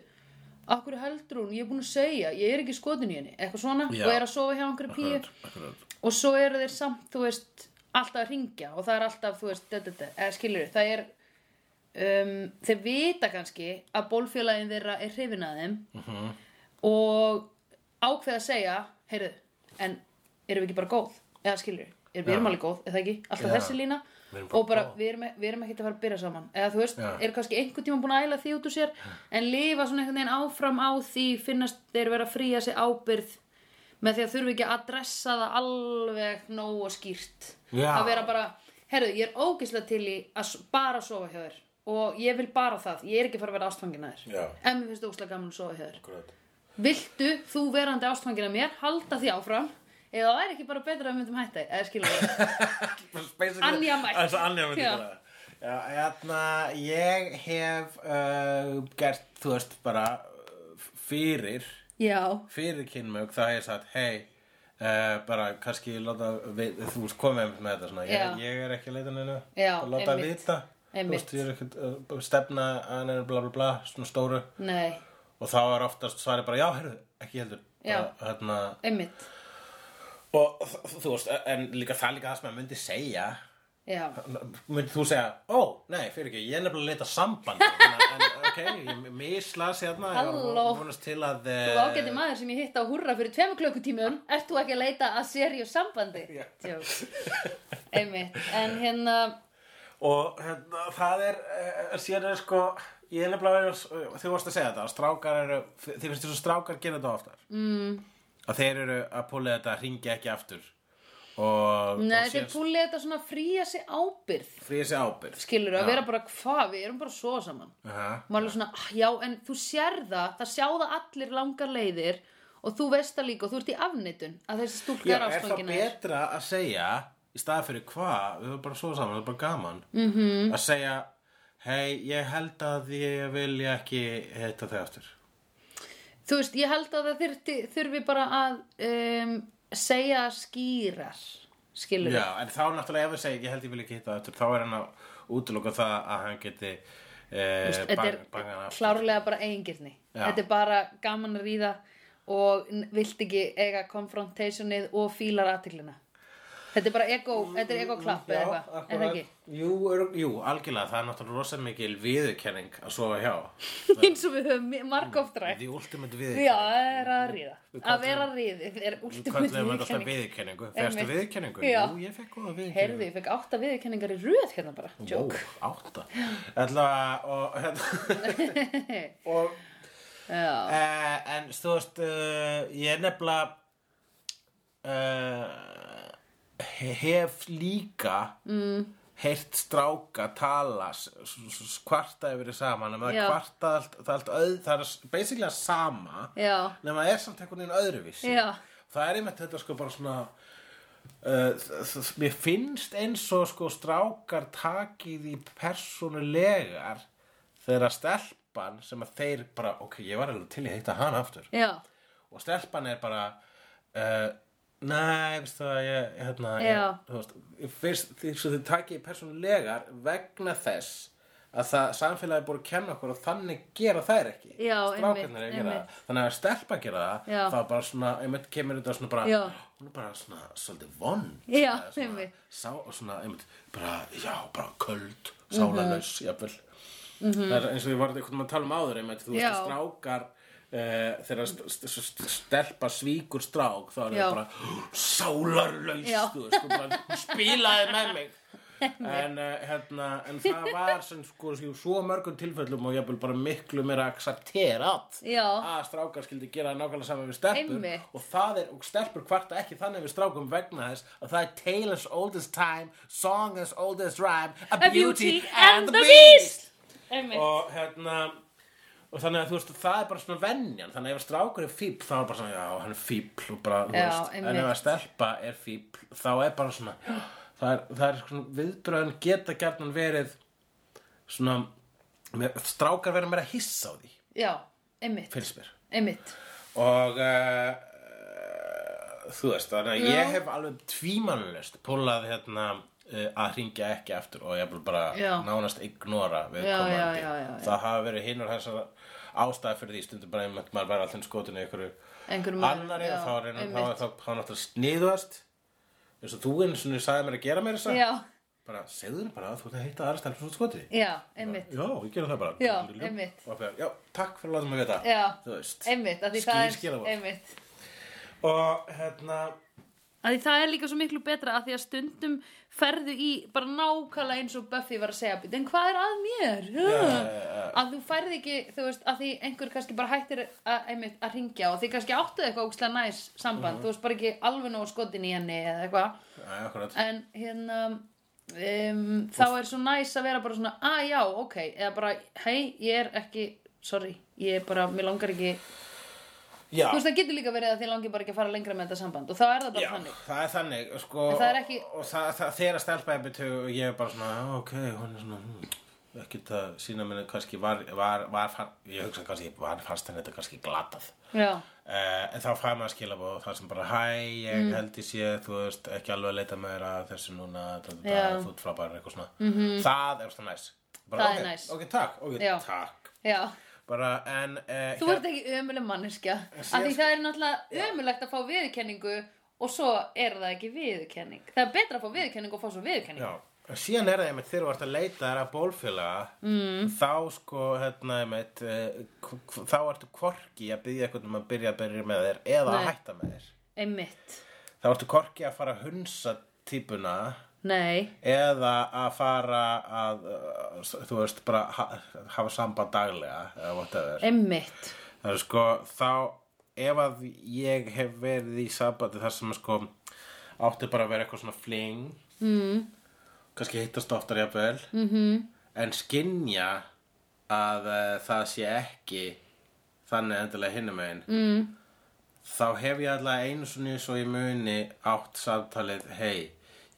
[SPEAKER 1] okkur heldur hún, ég er búin að segja ég er ekki skotin í henni, eitthvað svona
[SPEAKER 2] Já.
[SPEAKER 1] og er að sofa hjá einhverju píu
[SPEAKER 2] akkurat, akkurat.
[SPEAKER 1] og svo eru þeir samt, þú veist alltaf að ringja og það er alltaf, þú veist dö, dö, dö, eða skilur, það er um, þeir vita kannski að bólfélagin þeirra er hrifin að þeim
[SPEAKER 2] Mhm.
[SPEAKER 1] og ákveða að segja heyrðu, en erum við ekki bara góð eða skilur, er, við
[SPEAKER 2] Já.
[SPEAKER 1] erum alveg góð, eða ekki alltaf
[SPEAKER 2] Já.
[SPEAKER 1] þessi lína
[SPEAKER 2] Við erum bara
[SPEAKER 1] og bara,
[SPEAKER 2] góð.
[SPEAKER 1] við erum, e, við erum ekki að fara að byrja saman eða þú veist,
[SPEAKER 2] Já.
[SPEAKER 1] eru kannski einhvern tíma búin að æla því út úr sér en lifa svona einhvern veginn áfram á því finnast þeir vera að fríja sig ábyrð með því að þurfi ekki að dressa það alveg nóg og skýrt
[SPEAKER 2] Já.
[SPEAKER 1] að vera bara, herru, ég er ógislega til í að s- bara sofa hjá þér og ég vil bara það, ég er ekki að fara að vera ástfangin að þér
[SPEAKER 2] Já.
[SPEAKER 1] en mér finnst ógislega gaman að sofa hjá þér
[SPEAKER 2] akkurat.
[SPEAKER 1] viltu þú verandi ástfangin að mér halda því áfram eða það væri ekki bara betra að við myndum hætta eða skilur við
[SPEAKER 2] Basically-
[SPEAKER 1] Anja mætt.
[SPEAKER 2] Það er svo Anja mætt
[SPEAKER 1] Já.
[SPEAKER 2] já. já, hérna ég hef uh, gert, þú veist, bara uh, fyrir
[SPEAKER 1] já,
[SPEAKER 2] fyrir kynmög þá hef ég sagt hei Uh, bara kannski láta við, þú veist komið einmitt með þetta svona ég,
[SPEAKER 1] Já.
[SPEAKER 2] ég er ekki að leita neina
[SPEAKER 1] Já,
[SPEAKER 2] láta einmitt.
[SPEAKER 1] einmitt.
[SPEAKER 2] vita Þú
[SPEAKER 1] Einmitt.
[SPEAKER 2] veist, ég er ekki að uh, stefna að neina bla bla bla svona stóru
[SPEAKER 1] nei
[SPEAKER 2] og þá er oftast svarið bara hérna. já, heyrðu, ekki heldur
[SPEAKER 1] Já.
[SPEAKER 2] Þarna,
[SPEAKER 1] einmitt
[SPEAKER 2] og þ- þ- þú veist, e- en líka það er líka það sem maður myndi segja
[SPEAKER 1] já,
[SPEAKER 2] myndi þú segja, ó, nei, fyrir ekki ég er nefnilega að leita samband en ok, ég mislas hérna ég var
[SPEAKER 1] Halló.
[SPEAKER 2] vonast til að
[SPEAKER 1] þú ágæti maður sem ég hitt á hurra fyrir tveimur klukkutímum ert þú ekki að leita að serju sambandi
[SPEAKER 2] Já.
[SPEAKER 1] Djók. einmitt en hérna,
[SPEAKER 2] og hérna, það er eh, síðan er sko ég er nefnilega verið að- þú varst að segja þetta strákar eru, þið finnst þessu strákar gera þetta oftar mm. að þeir eru að púla þetta ringi ekki aftur og,
[SPEAKER 1] neða þeir
[SPEAKER 2] og síðan
[SPEAKER 1] púlið þetta svona fríja sig ábyrð
[SPEAKER 2] fríða sér ábyrð
[SPEAKER 1] skilur að vera bara hvað, við erum bara svo saman
[SPEAKER 2] Aha.
[SPEAKER 1] maður er alveg svona, "Ah, já en þú sér það það sjá það allir langar leiðir og þú veist það líka og þú ert í afneitun að þessi stúlka
[SPEAKER 2] Já,
[SPEAKER 1] er
[SPEAKER 2] er það
[SPEAKER 1] ástfangin að þér
[SPEAKER 2] betra að segja í staða fyrir hvað, við erum bara svo saman, það er bara gaman -hmm. að segja hei, ég held að ég vilja ekki heita þau aftur
[SPEAKER 1] þú veist, ég held að það þyrti, þurfi bara að um, segja skýrar skilur
[SPEAKER 2] Já, en þá náttúrulega ef við segja ég held ég vilja ekki heita þau aftur, þá er hann að útloka það að hann geti eh,
[SPEAKER 1] þetta er
[SPEAKER 2] bang, bangan aftur
[SPEAKER 1] klárlega bara eigingirni
[SPEAKER 2] Já.
[SPEAKER 1] þetta er bara gaman að ríða og n- vilt ekki eiga konfrontationið og fílar aðtiklina þetta er bara ego, þetta er ego klapp eða eitthvað, er það
[SPEAKER 2] akkurat.
[SPEAKER 1] ekki?
[SPEAKER 2] jú, örugg- jú, algjörlega, það er náttúrulega rosa mikil viðurkenning að sofa hjá
[SPEAKER 1] eins og við höfum margóft rætt
[SPEAKER 2] Því ultimate viðurkenning
[SPEAKER 1] já, það er að ríða að vera ríðið er
[SPEAKER 2] Hvað
[SPEAKER 1] últimut
[SPEAKER 2] er þetta alltaf
[SPEAKER 1] viðurkenning
[SPEAKER 2] viðurkenningu? Fæstu
[SPEAKER 1] Einmitt.
[SPEAKER 2] viðurkenningu?
[SPEAKER 1] Já.
[SPEAKER 2] Jú, ég fekk góða viðurkenningu.
[SPEAKER 1] heyrðu, ég fekk átta viðurkenningar í röð hérna bara
[SPEAKER 2] Ó,
[SPEAKER 1] joke
[SPEAKER 2] átta Ætla að og, hérna, og
[SPEAKER 1] já,
[SPEAKER 2] uh, en þú veist uh, ég er nefnilega uh, hef líka mm. heyrt stráka tala s- s- s- kvarta yfir því saman nema
[SPEAKER 1] Já.
[SPEAKER 2] það kvarta allt, það er allt öð, það er basically að sama
[SPEAKER 1] já,
[SPEAKER 2] nema það er samt einhvern veginn öðruvísi
[SPEAKER 1] Já.
[SPEAKER 2] það er einmitt þetta sko bara svona uh, þ- þ- mér finnst eins og sko strákar takið í persónulegar þegar stelpan sem að þeir bara, ok, ég var alveg til í að heita hana aftur
[SPEAKER 1] já
[SPEAKER 2] og stelpan er bara uh, nei, veist það ég, hérna, ég,
[SPEAKER 1] Já.
[SPEAKER 2] þú veist, ég fyrst, því, svo þið takið í persónulegar vegna þess að það samfélagi búið að kenna okkur og þannig gera þær ekki
[SPEAKER 1] Já,
[SPEAKER 2] strákarnir
[SPEAKER 1] einmitt,
[SPEAKER 2] að gera
[SPEAKER 1] einmitt.
[SPEAKER 2] það þannig að stelpa gera það
[SPEAKER 1] Já.
[SPEAKER 2] þá bara svona, einmitt kemur þetta svona bara
[SPEAKER 1] Já.
[SPEAKER 2] hún er bara svona, svolítið vond
[SPEAKER 1] Já,
[SPEAKER 2] eða svona,
[SPEAKER 1] einmitt.
[SPEAKER 2] sá, svona, einmitt, bara, já, bara köld sálalaus,
[SPEAKER 1] Mhm.
[SPEAKER 2] jafnvel -hmm. það er eins og ég var einhvern veginn að tala um áður einmitt, þú veist
[SPEAKER 1] Já.
[SPEAKER 2] að strákar Uh, þegar st st st stelpa svíkur strák þá er
[SPEAKER 1] Já.
[SPEAKER 2] það bara sálarlaus
[SPEAKER 1] Já.
[SPEAKER 2] þú veist, þú bara, hún spilaði með mig en, uh, hérna, en það var sem sko í svo mörgum tilfellum og jafnvel bara miklu meira accepterat
[SPEAKER 1] Já.
[SPEAKER 2] að strákar skildi gera nákvæmlega saman við stelpur
[SPEAKER 1] Einmitt.
[SPEAKER 2] og það er, og stelpur kvarta ekki þannig við strákum vegna þess að það er tale as old as time, song as old as rhyme a, beauty, and the beast
[SPEAKER 1] einmitt
[SPEAKER 2] og hérna og þannig að þú veist það er bara svona venjan þannig að ef strákur er fíbl þá er bara svona já hann er fíbl og bara þú
[SPEAKER 1] Já,
[SPEAKER 2] veist en
[SPEAKER 1] einmitt.
[SPEAKER 2] ef að stelpa er fíbl þá er bara svona það er, það er svona viðbröðin geta gjarnan verið svona með, strákar verið meira hissa á því
[SPEAKER 1] já, einmitt,
[SPEAKER 2] finnst mér
[SPEAKER 1] einmitt
[SPEAKER 2] og uh, þú veist þannig að ég hef alveg tvímanlust púlað hérna uh, að hringja ekki aftur og ég vil bara
[SPEAKER 1] Já.
[SPEAKER 2] nánast ignora við
[SPEAKER 1] Já,
[SPEAKER 2] komandi
[SPEAKER 1] já, já, já, já.
[SPEAKER 2] það hafa verið hinnur þessar ástæði fyrir því stundum bara einmitt maður væri alltaf skotinu í einhverju
[SPEAKER 1] einhverjum
[SPEAKER 2] annari og þá er einhverju þá er þá þá er náttúrulega sniðuast eins og þú eins og sagði mér að gera mér þess að
[SPEAKER 1] já,
[SPEAKER 2] bara segðu þér bara að þú ert að hitta aðra stærn svo skotinu
[SPEAKER 1] já, einmitt
[SPEAKER 2] Já, ég gera það bara
[SPEAKER 1] Já, einmitt.
[SPEAKER 2] Og bara, Já, takk fyrir að láta mig vita
[SPEAKER 1] Já,
[SPEAKER 2] Þú veist
[SPEAKER 1] einmitt, að því
[SPEAKER 2] Skýr
[SPEAKER 1] það er
[SPEAKER 2] skilaboð.
[SPEAKER 1] einmitt
[SPEAKER 2] Og hérna
[SPEAKER 1] að því það er líka svo miklu betra að því að stundum ferðu í bara nákvæmlega eins og Buffy var að segja "Bíddu, en hvað er að mér?
[SPEAKER 2] já,
[SPEAKER 1] að þú færði ekki, þú veist, að því einhver kannski bara hættir að, einmitt, að ringja og því kannski áttuð eitthvað ógstlega næs samband
[SPEAKER 2] Mhm.
[SPEAKER 1] þú veist bara ekki alveg nóg skotin í henni eða eitthvað
[SPEAKER 2] Æ, akkurat
[SPEAKER 1] en hérna um, þá er svo næs að vera bara svona að já, ok, eða bara hei, ég er ekki, sorry ég er bara, mér langar ekki þú
[SPEAKER 2] Já,
[SPEAKER 1] veist, það getur líka verið að þið langar bara ekki að fara lengra með þetta samband og þá er það bara
[SPEAKER 2] já
[SPEAKER 1] þannig
[SPEAKER 2] það er þannig sko,
[SPEAKER 1] En það er ekki-
[SPEAKER 2] Og það, það, þegar að stelpa er betu og ég er bara svona, "Já, ok, hún er svona hmm, ekkert að sína minni kannski var, var, var, fann, ég hugsa kannski var fannst henni þetta kannski glatað
[SPEAKER 1] já,
[SPEAKER 2] Uh, en þá fæði maður skilabóð og það sem bara hæ, ég
[SPEAKER 1] Mm.
[SPEAKER 2] held ég sé, þú veist, ekki alveg að leita með þér að þessu núna, da, da, da,
[SPEAKER 1] Já. Mhm.
[SPEAKER 2] þú ert frábæður eitthvað svona. Mm -hmm. Það er svona næs. Bara,
[SPEAKER 1] Það er
[SPEAKER 2] ok,
[SPEAKER 1] næs.
[SPEAKER 2] Ok, takk, ok,
[SPEAKER 1] Já.
[SPEAKER 2] takk.
[SPEAKER 1] já,
[SPEAKER 2] bara en eh,
[SPEAKER 1] Þú ert ekki ömuleg manneskja af því
[SPEAKER 2] sko-
[SPEAKER 1] það er náttúrulega ömulegt að fá viðurkenningu og svo er það ekki viðurkenning Það er betra að fá viðurkenningu og fá svo viðurkenning
[SPEAKER 2] Já, en síðan er það einmitt þegar þú ert að leita þeirra bólfélaga mm. þá sko, hérna einmitt eh, k- k- þá ertu korki að byggja eitthvað um að byrja að byrja með þér eða að
[SPEAKER 1] Nei.
[SPEAKER 2] hætta með þér
[SPEAKER 1] Einmitt
[SPEAKER 2] þá ertu korki að fara að hunsa típuna
[SPEAKER 1] Nei,
[SPEAKER 2] eða að fara að eh, s- þú veist, bara ha hafa samband daglega eða whatever
[SPEAKER 1] einmitt
[SPEAKER 2] það er sko, þá ef að ég hef verið í sambandi þar sem sko átti bara að vera eitthvað svona fling kannski hittast oftar jafnvel -hmm. en skinja að uh, það sé ekki þannig endilega hinum einn mm. þá hef ég alltaf einu svona svo ég muni átt samtalið hei,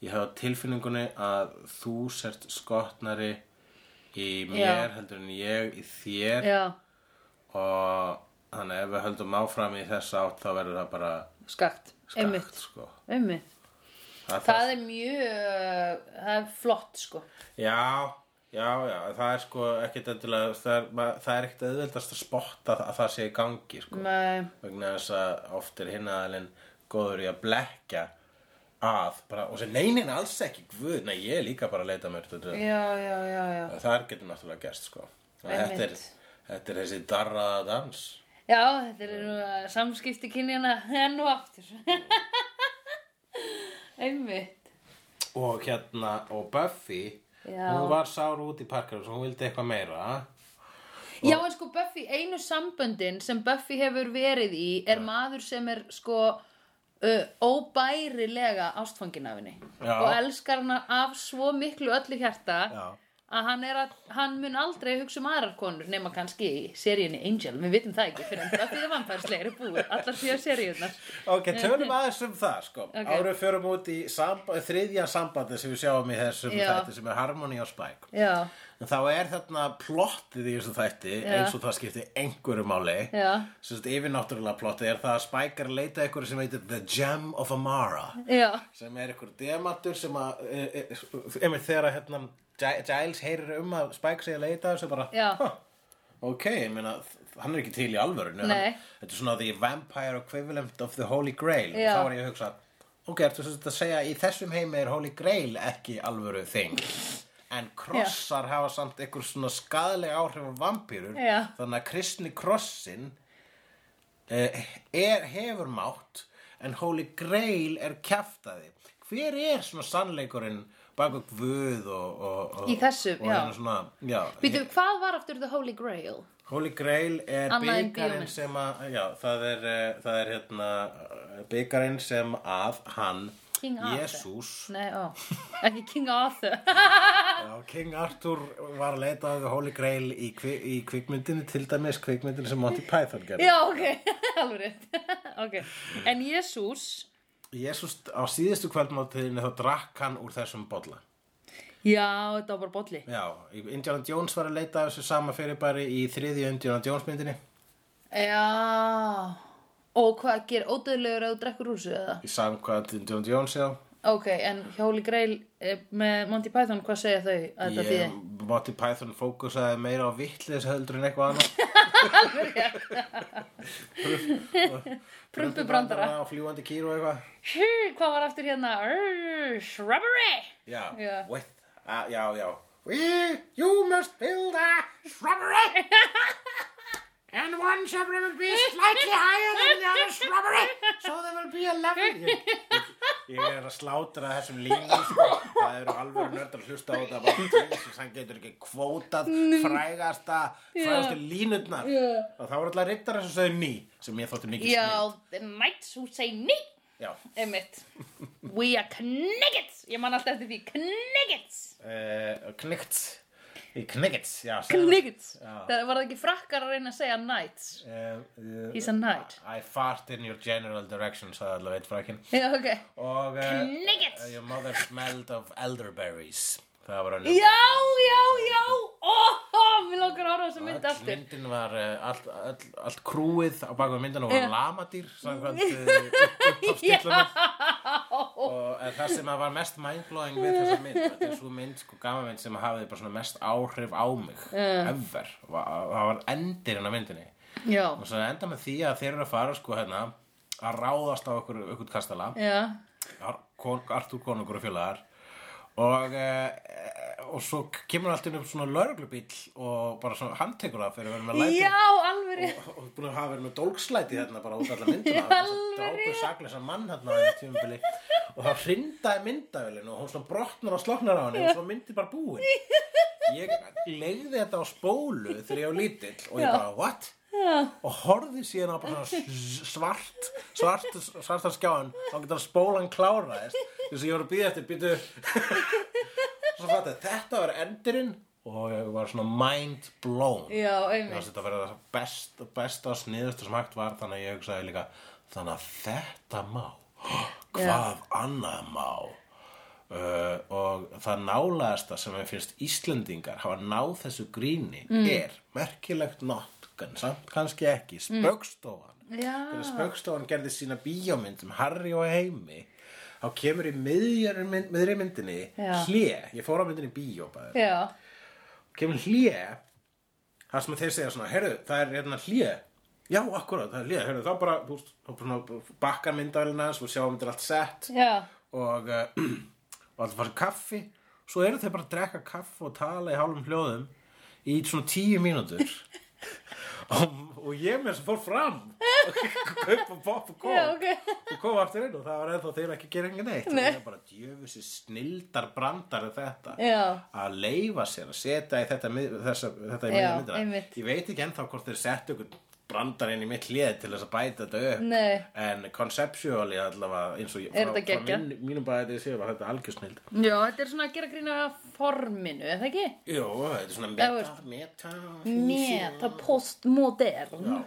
[SPEAKER 2] ég hef á tilfinningunni að þú sért skotnari í mér
[SPEAKER 1] Já.
[SPEAKER 2] heldur en ég í þér
[SPEAKER 1] Já,
[SPEAKER 2] og þannig ef við höldum áfram í þess átt þá verður það bara
[SPEAKER 1] skakt,
[SPEAKER 2] skakt
[SPEAKER 1] einmitt,
[SPEAKER 2] sko.
[SPEAKER 1] einmitt.
[SPEAKER 2] það, það...
[SPEAKER 1] Það er mjög, það er flott sko
[SPEAKER 2] Já, já, já það er sko ekkit endilega það er, mað, það er ekkit auðveldast að spotta að, að það sé í gangi sko.
[SPEAKER 1] Nei,
[SPEAKER 2] vegna þess að oft er hinnaðalinn góður í að blekja að bara, og sem neinin alls ekki guð, nei ég er líka bara að leita mér þetta,
[SPEAKER 1] já, já, já, já
[SPEAKER 2] það getur náttúrulega gerst sko. Og þetta, er,
[SPEAKER 1] Einmitt.
[SPEAKER 2] þetta er þessi darraða dans
[SPEAKER 1] Já, þetta er nú að samskipti kynjana enn og aftur. Einmitt.
[SPEAKER 2] og hérna, og Buffy
[SPEAKER 1] Já.
[SPEAKER 2] hún var sár út í parkar og hún vildi eitthvað meira
[SPEAKER 1] Já, en sko Buffy, einu samböndin sem Buffy hefur verið í er maður sem er sko uh, óbærilega ástfangin af henni.
[SPEAKER 2] Já.
[SPEAKER 1] Og elskar hana af svo miklu öllu hjarta
[SPEAKER 2] Já.
[SPEAKER 1] að hann, er að hann mun aldrei hugsa um aðrar konur nema kannski í seríunni Angel. Við vitum það ekki fyrir en Buffy er vampærslegri búið, allar því að seríunar.
[SPEAKER 2] ok, tölum aðeins um það sko
[SPEAKER 1] Ok.
[SPEAKER 2] okay. árum förum út í samba, þriðja sambandi sem við sjáum í þessum
[SPEAKER 1] Já.
[SPEAKER 2] þætti sem er Harmony og Spike
[SPEAKER 1] Já,
[SPEAKER 2] en þá er þarna plottið í þessum þætti eins og það skipti einhverju máli
[SPEAKER 1] Já.
[SPEAKER 2] sem þetta yfirnáttúrulega plottið er það að Spike er að leita einhverju sem heitir The Gem of Amara
[SPEAKER 1] já,
[SPEAKER 2] sem er einhver demantur sem að e, e, einmitt þegar að hérna Gi- Giles heyrir um að Spike segja leita þessu bara
[SPEAKER 1] Já.
[SPEAKER 2] "Huh, ok, ég meina hann er ekki til í alvörinu
[SPEAKER 1] Nei.
[SPEAKER 2] hann, þetta er svona the vampire equivalent of the holy grail
[SPEAKER 1] Já.
[SPEAKER 2] þá var ég að hugsa ok, ertu sem þetta að segja í þessum heimi er holy grail ekki alvöru þing en krossar hafa samt einhver svona skadaleg áhrif af vampýrur
[SPEAKER 1] Já.
[SPEAKER 2] þannig að kristni krossin eh, er, hefur mátt en Holy Grail er kjaftaði hver er svona sannleikurinn baka guð og, og, og
[SPEAKER 1] Í þessu,
[SPEAKER 2] og
[SPEAKER 1] já.
[SPEAKER 2] hérna svona, já
[SPEAKER 1] býtu, hvað var aftur The Holy Grail?
[SPEAKER 2] Holy Grail er
[SPEAKER 1] Annað en
[SPEAKER 2] byggarinn
[SPEAKER 1] bíómynd.
[SPEAKER 2] sem að já, það er, eh, það er hérna byggarinn sem að hann
[SPEAKER 1] King Arthur.
[SPEAKER 2] Jesús
[SPEAKER 1] Nei, ó, ekki King Arthur
[SPEAKER 2] já, King Arthur var leitað Holy Grail í, kvi, í kvikmyndinu til dæmis kvikmyndinu sem Monty Python gerði
[SPEAKER 1] Já, ok, alveg rétt okay. En Jésús
[SPEAKER 2] Jésús á síðustu kvöldmáttiðinu þá drakk hann úr þessum bolla
[SPEAKER 1] Já, þetta var bara bolli
[SPEAKER 2] Já, Indiana Jones var að leita af þessu sama fyrirbæri í þriðju Indiana Jones myndinni
[SPEAKER 1] Já Og hvað ger ódöðlegur að þú drekkur úr þessu eða?
[SPEAKER 2] í samkvæmt Indiana Jones já
[SPEAKER 1] Ok, en hjá Holy Grail eh, með Monty Python, hvað segja þau að þetta
[SPEAKER 2] Ég,
[SPEAKER 1] þýði?
[SPEAKER 2] Monty Python fókusaði meira á vittlis heldur en eitthvað annað
[SPEAKER 1] Prumpubrandara
[SPEAKER 2] og fljúandi kýr og eitthvað
[SPEAKER 1] Hú, Hvað var aftur hérna? Urr, Shrubbery
[SPEAKER 2] Já,
[SPEAKER 1] Já.
[SPEAKER 2] With, a, já, já We, you must build a shrubbery And one shrubbery will be slightly higher than the other shrubbery So there will be a level Ég, ég er að slátra þessum línum sko. Það eru alveg nördar að hlusta á þetta bara, Jesus, Hann getur ekki kvótað frægasta, frægastu línurnar
[SPEAKER 1] Já.
[SPEAKER 2] Og það voru alltaf reyndar þess að segja ný Sem ég þótti mikið
[SPEAKER 1] Já,
[SPEAKER 2] snill
[SPEAKER 1] the knights who say nýtt
[SPEAKER 2] Já,
[SPEAKER 1] Einmitt. We are kniggets. Ég man alltaf eftir því. Kniggets.
[SPEAKER 2] uh, knygt Í knyggits, já sagði-
[SPEAKER 1] Kniggets.
[SPEAKER 2] Já.
[SPEAKER 1] Það var það ekki frakkar að reyna að segja knights.
[SPEAKER 2] Uh, uh,
[SPEAKER 1] He's a knight.
[SPEAKER 2] I fart in your general direction sagði allavega eitt frækin
[SPEAKER 1] Já, ok.
[SPEAKER 2] og uh,
[SPEAKER 1] Kniggets.
[SPEAKER 2] your mother smelled of elderberries það var hann
[SPEAKER 1] Já, já, já. Ó, ó, mér langar að horfa á þessa mynd aftur.
[SPEAKER 2] myndin var uh, allt, allt, allt krúið á baku myndinu
[SPEAKER 1] Já.
[SPEAKER 2] var lamadýr samkvæmt uh, uppstillunum
[SPEAKER 1] Ó,
[SPEAKER 2] eh, og en það sem að var mest mindblowing við þessa mynd þetta er svo mynd, sko, gama mynd sem hafði bara svona mest áhrif á mig ever, Og það það var endirinn á myndinni
[SPEAKER 1] já,
[SPEAKER 2] og svo enda með því að þeir eru að fara sko hérna að ráðast á okkur, okkur kastala
[SPEAKER 1] já,
[SPEAKER 2] Ar- kon- Arthur konungur og fjölaðar og, eh, og svo kemur allt inn upp svona lörglubíll og bara svona handtekur það fyrir að vera með læti
[SPEAKER 1] já, alveg rétt.
[SPEAKER 2] og búin að hafa verið með dólkslæti hérna bara út alla myndina
[SPEAKER 1] Já, alveg
[SPEAKER 2] drápu
[SPEAKER 1] rétt.
[SPEAKER 2] sakleysa mann hérna á einu tímabili og þá hrindaði myndavélinu og hún svona brotnar og sloknar á henni og svo myndi bara búin ég legði þetta á spólu þegar ég á lítill og
[SPEAKER 1] Já.
[SPEAKER 2] ég bara what?
[SPEAKER 1] Já.
[SPEAKER 2] og horfði síðan á bara svona s- svart svart, svartan skjáin þá getur spólan kláraðist þess að ég voru að býða eftir býtu svo fatta þetta var endurinn og ég var svona mind blown
[SPEAKER 1] já,
[SPEAKER 2] Mér
[SPEAKER 1] einmitt
[SPEAKER 2] fannst þetta að vera það best, besta og sniðustu sem hægt var þannig að ég hugsaði líka þannig að þetta má hvað annað má uh, og það nálaðasta sem ég finnst Íslendingar hafa náð þessu gríni er merkilegt nott samt kannski ekki, spöggstofan
[SPEAKER 1] já,
[SPEAKER 2] þegar spöggstofan gerði sína bíómynd um Harry og Heimi þá kemur í miðjari mynd, miðri myndinni
[SPEAKER 1] Já.
[SPEAKER 2] hlé, ég fór á myndinni í bíó bæði
[SPEAKER 1] já,
[SPEAKER 2] kemur hlje það sem þeir segja svona, heyrðu, það er hérna hlje já, akkurat, það er hlje, heyrðu, þá bara þú veist, þá bara bakkar myndavælina svo sjáum þetta er allt sett
[SPEAKER 1] já
[SPEAKER 2] og, uh, og allt var kaffi svo eru þeir bara að drekka kaffi og tala í hálfum hljóðum í svona tíu mínútur og, og ég með þess að fór fram og kaupa pop og kók
[SPEAKER 1] já, ok
[SPEAKER 2] og kom aftur inn og það var ennþá þeir ekki að gera engin neitt
[SPEAKER 1] Nei.
[SPEAKER 2] það er bara djöfusi snildar brandar er þetta
[SPEAKER 1] Já.
[SPEAKER 2] að leifa sér að setja í þetta, mið- þessa, þetta
[SPEAKER 1] Já,
[SPEAKER 2] í miðju myndina.
[SPEAKER 1] einmitt.
[SPEAKER 2] ég veit ekki ennþá hvort þeir settu ykkur brandar inn í mitt hlið til þess að bæta þetta upp
[SPEAKER 1] Nei.
[SPEAKER 2] en conceptually allavega eins og ég,
[SPEAKER 1] Er þetta
[SPEAKER 2] frá
[SPEAKER 1] geggjað?
[SPEAKER 2] mín, mínum bæði séu var þetta algjör snild
[SPEAKER 1] já, þetta er svona að gera grína forminu, er það ekki?
[SPEAKER 2] Jó, þetta er svona
[SPEAKER 1] þú
[SPEAKER 2] meta,
[SPEAKER 1] veist-
[SPEAKER 2] meta
[SPEAKER 1] Meta postmodern
[SPEAKER 2] Já.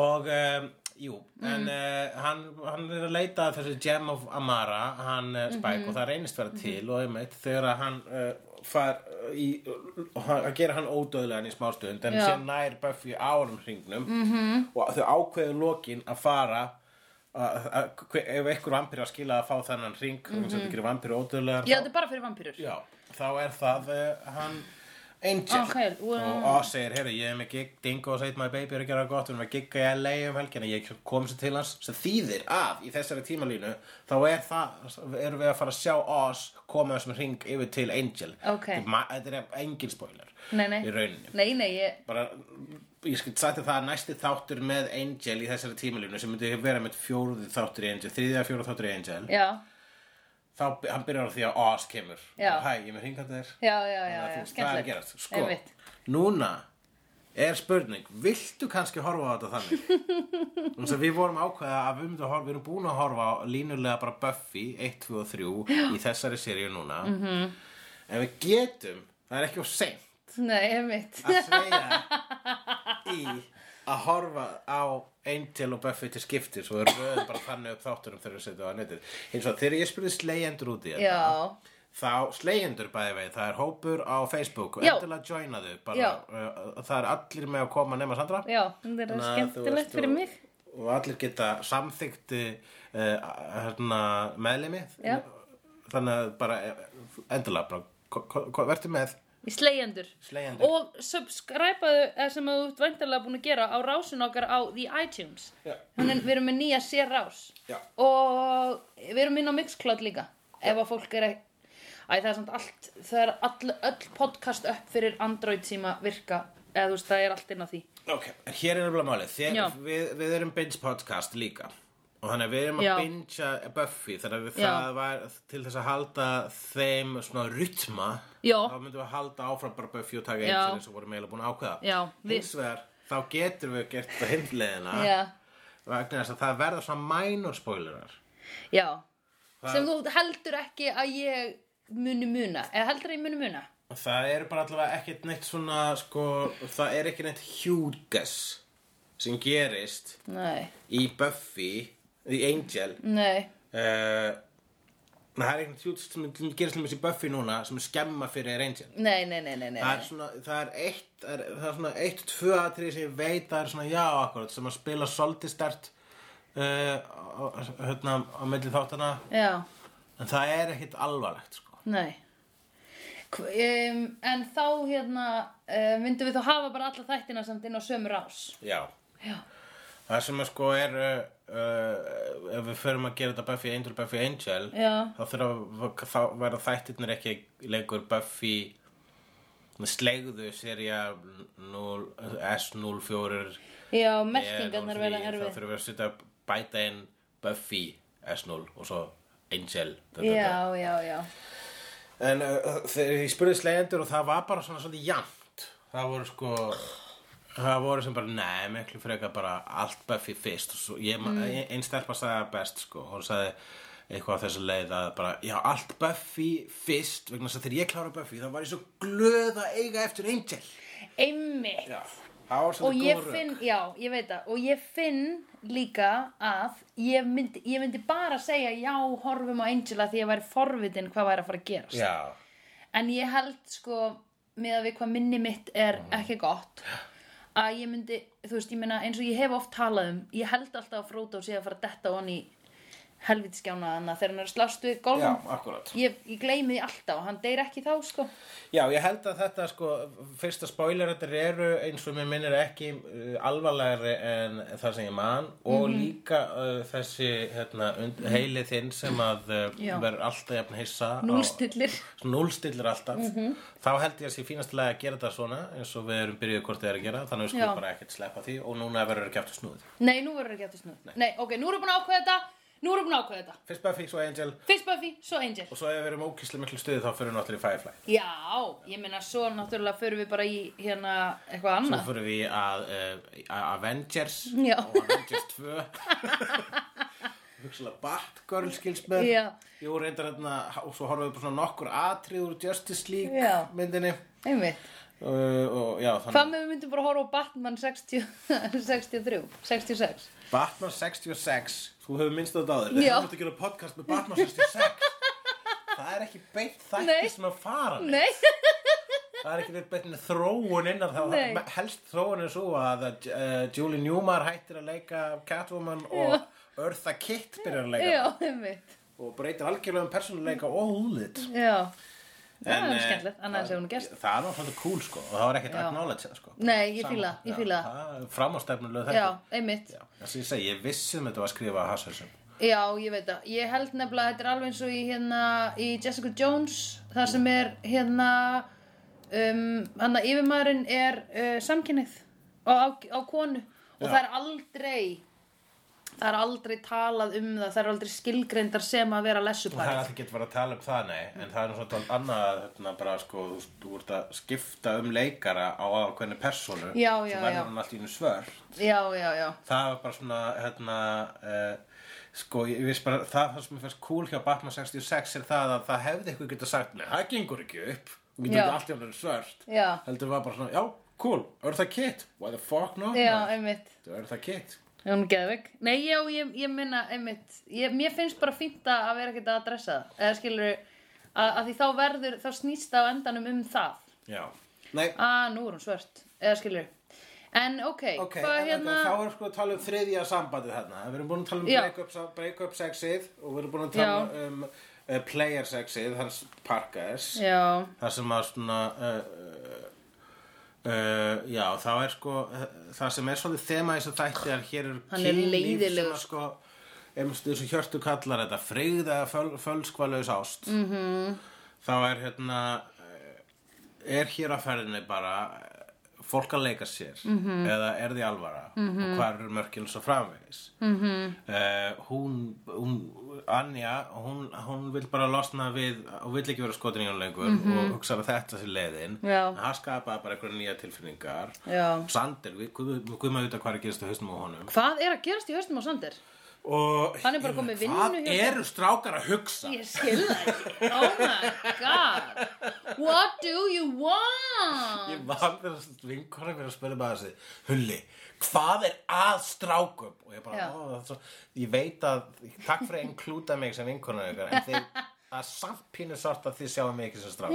[SPEAKER 2] og um, jú,
[SPEAKER 1] Mm.
[SPEAKER 2] en uh, hann, hann er að leita að þessu gem of Amara, hann uh, Spike
[SPEAKER 1] Mhm.
[SPEAKER 2] og það reynist vera til og einmitt þegar að hann uh, far uh, í, uh, að gera hann ódöðlegan í smástund en
[SPEAKER 1] Já. Mhm.
[SPEAKER 2] sér nær Buffy árum hringnum -hmm. og þau ákveðu lokin að fara að- að- hve- ef einhver vampir að skila að fá þennan hring mm -hmm. sem þykir vampir ódöðlegar
[SPEAKER 1] Mhm. já, þetta er bara fyrir vampýrur
[SPEAKER 2] Já, þá er það uh, hann Angel
[SPEAKER 1] Ok, well.
[SPEAKER 2] og Oz segir, heyrðu, ég er með gig, Dingo og Seit My Baby er að gera gott, við erum að gigga í LA um helgina, ég kom sér til hans sem þýðir að í þessari tímalínu þá er það, erum við að fara að sjá Oz koma þessum hring yfir til Angel
[SPEAKER 1] Ok.
[SPEAKER 2] Þetta er ma- Þetta er engin spoiler
[SPEAKER 1] nei, nei,
[SPEAKER 2] í rauninni
[SPEAKER 1] nei, nei, ég
[SPEAKER 2] bara, ég skil sagt að það er næsti þáttur með Angel í þessari tímalínu sem myndi vera með fjóruði þáttur í Angel þriðja fjóruði þáttur í Angel
[SPEAKER 1] já,
[SPEAKER 2] þá hann byrjar á því að Oz kemur
[SPEAKER 1] Já.
[SPEAKER 2] hæ, ég er með hringandi þér
[SPEAKER 1] já, já, já,
[SPEAKER 2] Þannig að
[SPEAKER 1] já,
[SPEAKER 2] þú veist, það er að
[SPEAKER 1] skemmtilegt.
[SPEAKER 2] gerast sko,
[SPEAKER 1] Einmitt.
[SPEAKER 2] núna er spurning viltu kannski horfa á þetta þannig Þú veist að við vorum ákveða að við, myndum að horfa, við erum búin að horfa á línulega bara Buffy 1, 2 og 3 í þessari seríu núna -hmm.
[SPEAKER 1] Mhm.
[SPEAKER 2] en við getum það er ekki of seint
[SPEAKER 1] nei, einmitt
[SPEAKER 2] að segja í að horfa á Angel og Buffy til skiptis og við röðum bara þannig upp þáttunum þegar við setjum á netið eins og þegar ég spurði slegjendur út í þetta
[SPEAKER 1] já,
[SPEAKER 2] þá slegjendur bæði vei, það er hópur á Facebook og
[SPEAKER 1] Já.
[SPEAKER 2] endilega joina þau
[SPEAKER 1] Já.
[SPEAKER 2] bara, uh, það er allir með að koma nema Sandra
[SPEAKER 1] já, þetta er
[SPEAKER 2] Þannig að þú
[SPEAKER 1] skemmtilegt
[SPEAKER 2] veist,
[SPEAKER 1] fyrir
[SPEAKER 2] og-
[SPEAKER 1] mig
[SPEAKER 2] og allir geta samþykti uh, hérna, meðlimi
[SPEAKER 1] Já.
[SPEAKER 2] þannig að bara eh, endilega bara, ko- ko- ko- vertu með
[SPEAKER 1] í slegjendur
[SPEAKER 2] slegjendur
[SPEAKER 1] og subscribeaðu eða sem að þú ert væntanlega búin að gera á rásin okkar á The iTunes
[SPEAKER 2] Já.
[SPEAKER 1] Hún er, við erum með nýja sér rás
[SPEAKER 2] Já.
[SPEAKER 1] og við erum inn á Mixcloud líka ef að fólk er ekki Æ, það er samt allt, það er all, öll podcast upp fyrir Android síma virka eða þú veist, það er allt inn á því
[SPEAKER 2] Ok, en hér er nefnilega málið
[SPEAKER 1] Já.
[SPEAKER 2] Þegar, við, við erum binge podcast líka og þannig að við erum að
[SPEAKER 1] Já.
[SPEAKER 2] bingea Buffy þannig að við-
[SPEAKER 1] Já.
[SPEAKER 2] það var til þess að halda þeim svona rytma
[SPEAKER 1] Já.
[SPEAKER 2] þá myndum við að halda áfram bara Buffy og taka
[SPEAKER 1] Já.
[SPEAKER 2] eins eins og vorum eiginlega búin að ákveða
[SPEAKER 1] Já, við-
[SPEAKER 2] hins vegar þá getum við gert það hindleðina
[SPEAKER 1] Já,
[SPEAKER 2] vegna þess að það verða svona minor spoilerar
[SPEAKER 1] já
[SPEAKER 2] Það-
[SPEAKER 1] sem þú heldur ekki að ég muni muna, eða heldur að ég muni muna
[SPEAKER 2] og það eru bara allavega ekkert neitt svona sko, það er ekki neitt hjúgas sem gerist
[SPEAKER 1] Nei,
[SPEAKER 2] í Buffy í Angel
[SPEAKER 1] nei,
[SPEAKER 2] uh, það er einhvern tjútt sem sem gerist til mér í Buffy núna sem skemma fyrir Angel
[SPEAKER 1] nei, nei, nei, nei, nei.
[SPEAKER 2] það er svona, það er eitt það er, það er svona eitt, tvö atrið sem ég veit það er svona já akkurat sem að eh, spila svolítið stert uh, á- á- hérna á milli þáttana
[SPEAKER 1] Já,
[SPEAKER 2] en það er ekkit alvarlegt sko.
[SPEAKER 1] Nei Hv- um, En þá hérna uh, myndum við þá hafa bara alla þættina samt inn á sömu rás
[SPEAKER 2] já,
[SPEAKER 1] Já,
[SPEAKER 2] það sem að sko er uh, uh, ef við förum að gera þetta Buffy Angel Buffy Angel
[SPEAKER 1] Já.
[SPEAKER 2] þá þurfa þá verða þættirnir ekki lengur Buffy slegðu serja 0, S04
[SPEAKER 1] já
[SPEAKER 2] E03,
[SPEAKER 1] merkingarnar verða
[SPEAKER 2] þá
[SPEAKER 1] erfið
[SPEAKER 2] þurfum við að setja bæta inn Buffy S0 og svo Angel da, da, da.
[SPEAKER 1] Já, já, já
[SPEAKER 2] En uh, þegar ég spurði slegjendur og það var bara svona svolítið jæmt Það voru sko Það voru sem bara, nei, miklu frekar bara allt Buffy fyrst og svo, ég, mm. Einn stelpa sagði það best sko Hún sagði eitthvað á þessu leið að bara Já, allt Buffy fyrst vegna þess að þegar ég klára Buffy þá var ég svo glöð að eiga eftir Angel
[SPEAKER 1] Einmitt
[SPEAKER 2] Já, það var
[SPEAKER 1] og
[SPEAKER 2] svolítið
[SPEAKER 1] ég
[SPEAKER 2] góð rök.
[SPEAKER 1] finn, já, ég veit það og ég finn líka að ég myndi, ég myndi bara segja já, horfum á Angela því ég væri forvitin hvað væri að fara að gerast
[SPEAKER 2] Já,
[SPEAKER 1] en ég held sko með að við hvað minni mitt er
[SPEAKER 2] Ah.
[SPEAKER 1] ekki gott að ég myndi, þú veist, ég meina eins og ég hef oft talað um, ég held alltaf að Frodo sé að fara að detta hon í helvitskjána hana þegar hann er að slást við
[SPEAKER 2] já,
[SPEAKER 1] golfum
[SPEAKER 2] akkurat
[SPEAKER 1] ég, ég gleymi því alltaf, hann deyr ekki þá sko
[SPEAKER 2] Já, ég held að þetta sko, fyrsta spoiler þetta eru eins og mér minnir ekki uh, alvarlegri en það sem ég man og
[SPEAKER 1] Mhm.
[SPEAKER 2] líka uh, þessi hérna, und, heili þinn sem að uh,
[SPEAKER 1] Já.
[SPEAKER 2] verður alltaf jafn hissa á-
[SPEAKER 1] núlstillir,
[SPEAKER 2] Svona núllstillir alltaf
[SPEAKER 1] Mhm.
[SPEAKER 2] þá held ég að sé fínastlega að gera þetta svona eins og við erum byrjuð hvort þið er að gera þannig að við
[SPEAKER 1] Já.
[SPEAKER 2] skulum bara ekkert sleppa því og núna verður ekki aftur snúð
[SPEAKER 1] nei, nú verður ekki aftur snúð nei. ok, nú erum búin að ákveða þetta nú erum búin að ákveða þetta
[SPEAKER 2] Fyrst Buffy, svo Angel
[SPEAKER 1] Fyrst Buffy, svo Angel
[SPEAKER 2] og svo ef við erum ókíslega miklu stuði þá fyrir náttúrulega í Firefly
[SPEAKER 1] Já, ég meina svo náttúrulega förum við bara í hérna eitthvað
[SPEAKER 2] Svo
[SPEAKER 1] annað
[SPEAKER 2] fyrir við að uh, að Avengers
[SPEAKER 1] Já.
[SPEAKER 2] og Avengers 2 Hugsalega Batgirl skils með
[SPEAKER 1] Já.
[SPEAKER 2] Jú, reyndar þarna og svo horfum við bara svona nokkur atrið úr Justice League
[SPEAKER 1] Já.
[SPEAKER 2] myndinni
[SPEAKER 1] Einmitt
[SPEAKER 2] uh, og já, þannig
[SPEAKER 1] Hvað með við myndum bara horfa á Batman 60, 63, 66
[SPEAKER 2] Batman 66, þú hefur minnst þetta á þér
[SPEAKER 1] Já.
[SPEAKER 2] þú mátt að gera podcast með Batman 66 það er ekki beint
[SPEAKER 1] Nei.
[SPEAKER 2] þætti sem að fara neitt.
[SPEAKER 1] Nei,
[SPEAKER 2] það er ekki neitt beint með þróun innan þá
[SPEAKER 1] Nei.
[SPEAKER 2] helst þróun er svo að uh, Julie Newmar hættir að leika Catwoman og Eartha Kitt byrjar að leika
[SPEAKER 1] já, einmitt
[SPEAKER 2] og breytir algjörlega um persónuleika og húðlit
[SPEAKER 1] Já, það
[SPEAKER 2] En,
[SPEAKER 1] er
[SPEAKER 2] eh,
[SPEAKER 1] skemmtilegt, annars hefur hún gerst
[SPEAKER 2] það er náttúrulega cool sko og það var ekkert
[SPEAKER 1] Já.
[SPEAKER 2] acknowledge sko.
[SPEAKER 1] Nei, ég fíla,
[SPEAKER 2] Já,
[SPEAKER 1] ég fíla það.
[SPEAKER 2] það framastefnulega
[SPEAKER 1] Já,
[SPEAKER 2] þetta
[SPEAKER 1] einmitt
[SPEAKER 2] þess að ég segi, ég vissi um þetta var að skrifa að hashausum
[SPEAKER 1] Já, ég veit það. Ég held nefnilega að þetta er alveg eins og í, hérna, í Jessica Jones, þar sem er hérna, um, hann að yfirmaðurinn er uh, samkynnið á, á, á konu og
[SPEAKER 2] Já.
[SPEAKER 1] það er aldrei, það er aldrei talað um það, það er aldrei skilgreindar sem að vera
[SPEAKER 2] það er
[SPEAKER 1] lessupar.
[SPEAKER 2] alltaf getur verið að tala um það, nei en það er náttúrulega dálítið annað hérna, bara, sko, þú, þú ert að skipta um leikara á ákveðinu persónu
[SPEAKER 1] Já, já,
[SPEAKER 2] svo verður
[SPEAKER 1] já.
[SPEAKER 2] hann allt í einu svör
[SPEAKER 1] Já, já, já.
[SPEAKER 2] það var bara svona hérna, uh, sko, ég veist bara það, það sem ég fannst cool hjá Batman 66 er það að það hefði eitthvað getað sagt nei, það gengur ekki upp, þú getur
[SPEAKER 1] Já.
[SPEAKER 2] ekki allt í alveg svört
[SPEAKER 1] Já.
[SPEAKER 2] heldur var bara svona, já, cool, er það kitt why the fuck not,
[SPEAKER 1] Já,
[SPEAKER 2] maður?
[SPEAKER 1] einmitt.
[SPEAKER 2] er það kitt
[SPEAKER 1] Já, hún geðvegg. Nei, já, ég, ég minna, einmitt, ég, mér finnst bara fínt að vera ekkert að adressa það, eða skilur, að, að því þá verður, þá snýst það á endanum um það.
[SPEAKER 2] já, nei,
[SPEAKER 1] Ah, nú er hún svört, eða skilur En ok,
[SPEAKER 2] ok,
[SPEAKER 1] hvað
[SPEAKER 2] en
[SPEAKER 1] hérna
[SPEAKER 2] þá erum sko að tala um þriðja sambandið hérna við erum búin að tala um
[SPEAKER 1] Já.
[SPEAKER 2] break-up break up sexið og við erum búin að tala um uh, player sexið, hans Parkers
[SPEAKER 1] Já,
[SPEAKER 2] það sem að svona uh, uh, uh, já, þá er sko uh, það sem er svolítið þema í þessu þætti er hér eru
[SPEAKER 1] Hann er
[SPEAKER 2] kynlíf sem
[SPEAKER 1] leiðilegur,
[SPEAKER 2] að sko einmitt þessu hjörtu kallar þetta freyða föl, fölskvalaus ást mm -hmm.
[SPEAKER 1] Mhm.
[SPEAKER 2] þá er hérna uh, er hér á ferðinni bara uh, fólk að leika sér
[SPEAKER 1] Mhm.
[SPEAKER 2] -hmm. eða er því alvara -hmm. og hvað eru mörkinn svo framvegis
[SPEAKER 1] Mhm.
[SPEAKER 2] -hmm. hún, hún Anja, hún, hún vil bara losna við og vil ekki vera skotin í hún lengur og hugsa að þetta sér leiðin
[SPEAKER 1] Mhm. Já.
[SPEAKER 2] En hann skapaði bara einhverja nýja tilfinningar
[SPEAKER 1] já
[SPEAKER 2] Sander, við guðum að vita hvað er að gerast á hausnum á honum
[SPEAKER 1] Hvað er að gerast í haustum á Sander?
[SPEAKER 2] og
[SPEAKER 1] Hann er bara komið vinnu
[SPEAKER 2] hvað
[SPEAKER 1] hjá sér.
[SPEAKER 2] eru strákar að hugsa
[SPEAKER 1] Ég skil það ekki Oh my god What do you want?
[SPEAKER 2] ég var þér að vinkona mér að spila bara þessi Hulli, hvað er að strákum? og ég bara,
[SPEAKER 1] Já.
[SPEAKER 2] ó, það er svo ég veit að, takk fyrir að inklúta mig sem vinkona ykkur, en þið það er samt pínu sort að þið sjáum mig ekki sem strák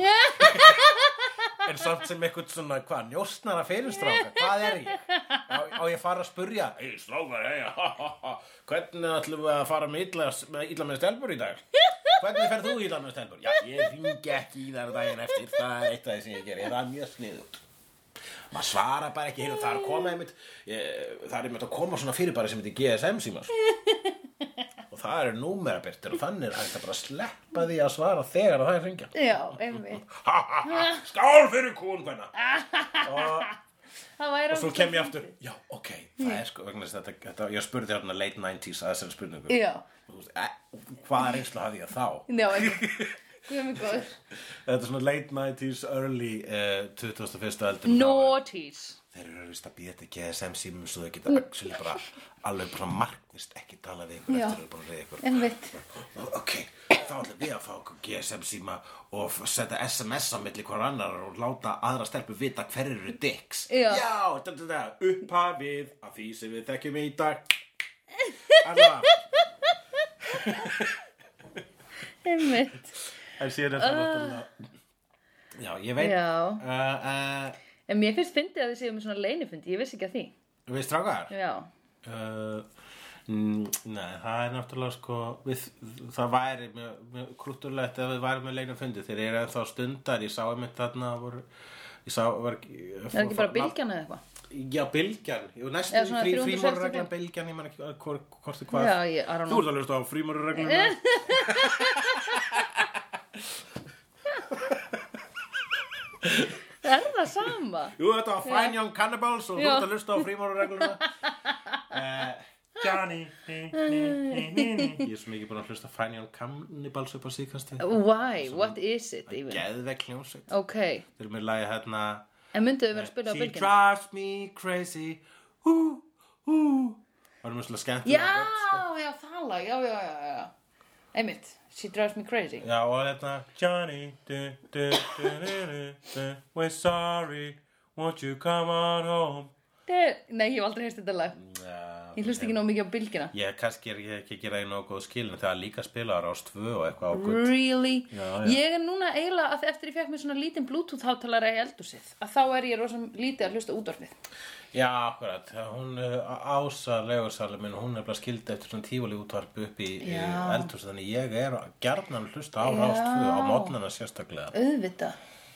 [SPEAKER 2] en samt sem eitthvað svona, hvað, njóstnara fyrir stráka hvað er ég? á, á ég fara að spurja hei strákar, hei, ha, ha, ha, hvernig ætlum við að fara með illa, með illa með stelpur í dag? hvernig ferð þú í það með stelpur? Já, ég ringi ekki í þar daginn eftir, það er eitt af því sem ég ger, ég er það mjög sniðugt. Maður svara bara ekki, heyrðu, það er að koma einmitt, ég, það er einmitt að koma svona fyrirbæri sem heitir GSM símar. Og það eru númerabirtir og þannig er hægt að bara sleppa því að svara þegar að það er ringja.
[SPEAKER 1] Já, einmitt.
[SPEAKER 2] Ha, ha, ha, skál fyrir kún, hvenna. Og
[SPEAKER 1] Það væri
[SPEAKER 2] og svo kem ég aftur já, ok, það er sko vegna þess að þetta, þetta, ég spurði hérna late 90s að þessari spurningu
[SPEAKER 1] Já,
[SPEAKER 2] Þú veist, eh, hvaða reynslu hafði ég þá
[SPEAKER 1] já, einmitt. Guð mig góður.
[SPEAKER 2] þetta er svona late 90s, early uh, 21. eldur
[SPEAKER 1] Naughties.
[SPEAKER 2] þeir eru vist að býða þetta GSM símum svo þau geta actually bara alveg bara markvist ekki tala við ykkur
[SPEAKER 1] Já.
[SPEAKER 2] eftir að búin að reyða ykkur
[SPEAKER 1] Einmitt.
[SPEAKER 2] ok, þá ætlum við að fá okkur GSM síma og f- setja SMS á milli hvar annar og láta aðra stelpu vita hver eru dicks
[SPEAKER 1] Já.
[SPEAKER 2] já da, da, da, upphafið af því sem við þekkjum í dag Alla,
[SPEAKER 1] Einmitt.
[SPEAKER 2] en síðan er það náttúrulega já, ég veit
[SPEAKER 1] Uh. Já.
[SPEAKER 2] uh, uh,
[SPEAKER 1] En mér finnst fyndið að þið séum með svona leinifundi, ég vissi ekki að því.
[SPEAKER 2] við strákar
[SPEAKER 1] Já,
[SPEAKER 2] uh, mm, Nei, það er náttúrulega sko við, það væri mjög, mjög krúttulegt ef við værum með leina fundi þeir eru ennþá stundar, ég sá einmitt þarna voru, ég sá var, eh,
[SPEAKER 1] er ekki bara bylgjan eða eitthvað?
[SPEAKER 2] Já, bylgjan, jú, næstu
[SPEAKER 1] Eða svona
[SPEAKER 2] frí,
[SPEAKER 1] 365.
[SPEAKER 2] frímórureglan bylgjan, ég man ekki hvað- hvor- hvort er hvað
[SPEAKER 1] Já, ég, I don't know. Eh?
[SPEAKER 2] Þú ert að hlusta á frímórureglan
[SPEAKER 1] Er það sama?
[SPEAKER 2] Jú, þetta var Fine Young Cannibals og þú
[SPEAKER 1] Já.
[SPEAKER 2] ert að hlusta á frímóruregluna uh, Johnny ni, ni, ni, ni, ni. Ég er svo mikið búin að hlusta á Fine Young Cannibals upp á síkastið
[SPEAKER 1] Why? What is it even?
[SPEAKER 2] Geðveg hljómsveit
[SPEAKER 1] Ok,
[SPEAKER 2] Þeir eru með lagi hérna
[SPEAKER 1] en mynduðu vera að spila á
[SPEAKER 2] She
[SPEAKER 1] bylgjan?
[SPEAKER 2] drives me crazy Hú, hú Það er mjög sko. svolítið skemmt
[SPEAKER 1] Já, já, það lag, já, já, já, já. Einmitt, She Drives Me Crazy.
[SPEAKER 2] Já, og þetta Johnny du, du, du, du, du, du, We're sorry Won't you come on home
[SPEAKER 1] De- Eh, Nei, ég hef aldrei heist þetta lag.
[SPEAKER 2] Já,
[SPEAKER 1] Ég hlust ekki nóg mikið á bylgjuna.
[SPEAKER 2] Ég kannski er ég ekki að gera í nógu góð skil En það er líka spilaðar á stvö og eitthvað ákvöld
[SPEAKER 1] Really?
[SPEAKER 2] Já, já.
[SPEAKER 1] Ég er núna eiginlega að eftir ég fekk mér svona lítinn Bluetooth hátalara í eldúsið að þá er ég rosam lítið að hlusta útvarpið.
[SPEAKER 2] Já, akkurat Hún uh, ása legursalum minn Hún er bara skildi eftir svona tífali útvarp upp í
[SPEAKER 1] Já.
[SPEAKER 2] eldhús Þannig ég er gjarnan að hlusta á
[SPEAKER 1] Já.
[SPEAKER 2] rástvö Á mótnana sérstaklega
[SPEAKER 1] Auðvitað.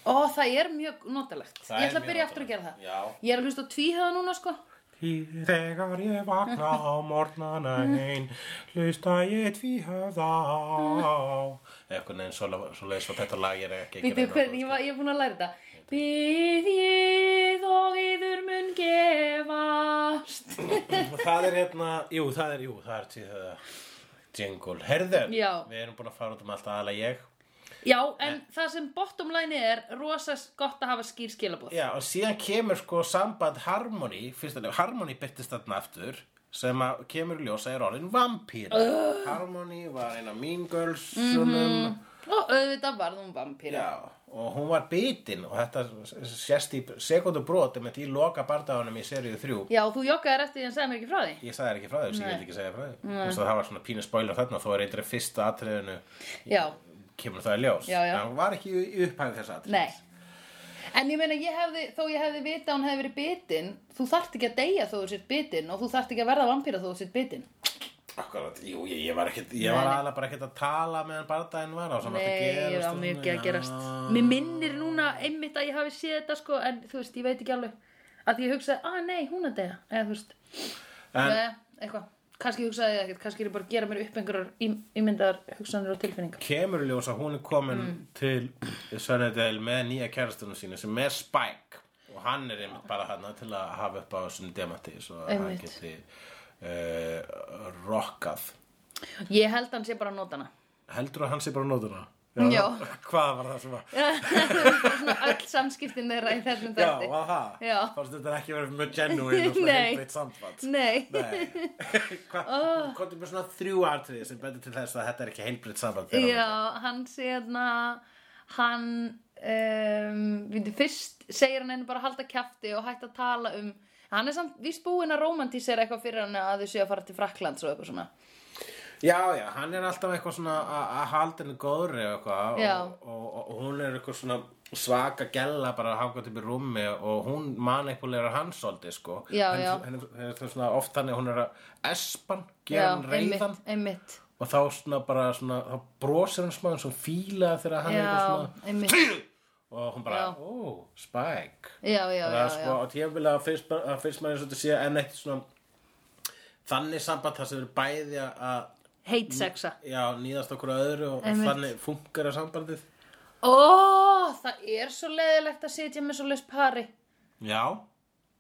[SPEAKER 1] Ó, það er mjög notalegt.
[SPEAKER 2] Það
[SPEAKER 1] ég
[SPEAKER 2] er
[SPEAKER 1] ætla að
[SPEAKER 2] mjög
[SPEAKER 1] byrja aftur að gera
[SPEAKER 2] notalegt.
[SPEAKER 1] það.
[SPEAKER 2] Já.
[SPEAKER 1] Ég er að hlusta á tvíhæða núna, sko.
[SPEAKER 2] Í Þegar ég vakna á morgnana einn, hlusta ég tví höfða á. Eitthvað neðin, svo leiðis var þetta lag ég er ekki
[SPEAKER 1] Býtu, hvern, ég, var, ég er búin að læra þetta. Býð ég og yður mun gefast.
[SPEAKER 2] Það er hérna, jú, það er, jú, það er tíð höfða. Jingle, herðu,
[SPEAKER 1] Já.
[SPEAKER 2] við erum búin að fara út um allt aðalega ég.
[SPEAKER 1] Já, en það sem bottom line er, rosa gott að hafa skýr skilabóð.
[SPEAKER 2] Já, og síðan kemur sko samband Harmony, fyrst að lega, Harmony byrtist þarna aftur, sem að kemur í ljós að er orðin vampíra. Harmony var eina
[SPEAKER 1] Mhm.
[SPEAKER 2] Mean Girls, mm
[SPEAKER 1] Og auðvitað varð hún vampíra.
[SPEAKER 2] Já, og hún var bitin og þetta sést í sekundu brotum en því loka bardagunum í seríu 3
[SPEAKER 1] Já, þú joggaðir eftir því en segði mér ekki frá því.
[SPEAKER 2] Ég sagði þér ekki frá þau, þess að ég vil ekki segja frá þau Þú veist að það var svona pínu spoiler þarna þó er eitthvað fyrsta atriðinu
[SPEAKER 1] Já,
[SPEAKER 2] kemur það í ljós
[SPEAKER 1] Já, já.
[SPEAKER 2] En hún var ekki í upphæðu þess atrið
[SPEAKER 1] nei. En ég meina, ég hefði, þó ég hefði vita að hún hefði verið bitin, þú þarft ekki að deyja þó þú sért bitin og þú þarft ekki að verða vampíra þó þú sért bitin.
[SPEAKER 2] Akkurat, jú, ég, ég var ekkert, ég
[SPEAKER 1] Nei,
[SPEAKER 2] var
[SPEAKER 1] nei.
[SPEAKER 2] aðalega bara ekkert að tala meðan bardaginn var á
[SPEAKER 1] Nei, ég er á mjög ekki að gerast. Mér minnir núna einmitt að ég hafi séð þetta sko, en þú veist, ég veit ekki alveg. Að því ég hugsaði, að nei, hún að deyja, eða þú veist,
[SPEAKER 2] En-
[SPEAKER 1] eða eitthvað. Kannski hugsaði ég ekkert, kannski er ég bara að gera mér upp einhverjar ím- ímyndaðar hugsanir og tilfinningar.
[SPEAKER 2] Kemur í ljós að hún er komin
[SPEAKER 1] Mm.
[SPEAKER 2] til Sönnedel með nýja kærastunum sína sem er Spike og hann er einmitt bara hann til að hafa upp á þessum demanti svo að hann
[SPEAKER 1] Einmitt.
[SPEAKER 2] geti uh, rockað
[SPEAKER 1] Ég held hann sé bara að nota hana.
[SPEAKER 2] Heldur að hann sé bara á nótuna?
[SPEAKER 1] Já.
[SPEAKER 2] Hvað var það sem var?
[SPEAKER 1] Svona öll samskiptin þeirra í þessum
[SPEAKER 2] Já,
[SPEAKER 1] þætti.
[SPEAKER 2] var það?
[SPEAKER 1] Já.
[SPEAKER 2] Fannst þetta ekki verið mjög genuine og svona
[SPEAKER 1] Nei. Ah.
[SPEAKER 2] heilbreytt samband?
[SPEAKER 1] Nei.
[SPEAKER 2] Nei. Hvað, komdu með svona þrjú atriði sem bendur til þess að þetta er ekki heilbreytt samband þeirra á milli?
[SPEAKER 1] Já, hann sé hérna, hann, um, við fyrst segir hann henni bara að halda kjafti og hætta að tala um, hann er samt víst búinn að romantísera eitthvað fyrir hann að þau séu að fara til Fraklands og eitthvað svona.
[SPEAKER 2] Já, já, hann er alltaf eitthvað svona að- að halda henni góðri og eitthvað
[SPEAKER 1] Já.
[SPEAKER 2] og, og, og, og hún er eitthvað svona svaka gella bara að hafa upp í rúmi og hún manipulerar hann svolítið sko
[SPEAKER 1] Já,
[SPEAKER 2] henni,
[SPEAKER 1] já.
[SPEAKER 2] henni, henni, henni, svona, oft þannig að hún er að espan
[SPEAKER 1] Já,
[SPEAKER 2] gera hann reyðan
[SPEAKER 1] Einmitt, einmitt.
[SPEAKER 2] og þá svona bara svona, þá brosir hann smá eins og fíla þegar hann er
[SPEAKER 1] já,
[SPEAKER 2] eitthvað svona
[SPEAKER 1] einmitt
[SPEAKER 2] og hún bara,
[SPEAKER 1] Já.
[SPEAKER 2] ó, oh, Spike
[SPEAKER 1] já, já,
[SPEAKER 2] það
[SPEAKER 1] já,
[SPEAKER 2] er
[SPEAKER 1] já.
[SPEAKER 2] sko, á tíðanbili að fyrst, að fyrst maður eins og þetta sé enn eitt svona þannig samband það sem eru bæði að- að
[SPEAKER 1] hate sexa
[SPEAKER 2] já, nýðast okkur að öðru og
[SPEAKER 1] Einmitt.
[SPEAKER 2] þannig funkar að sambandið
[SPEAKER 1] ó, það er svo leiðilegt að sitja með svo leis pari
[SPEAKER 2] já,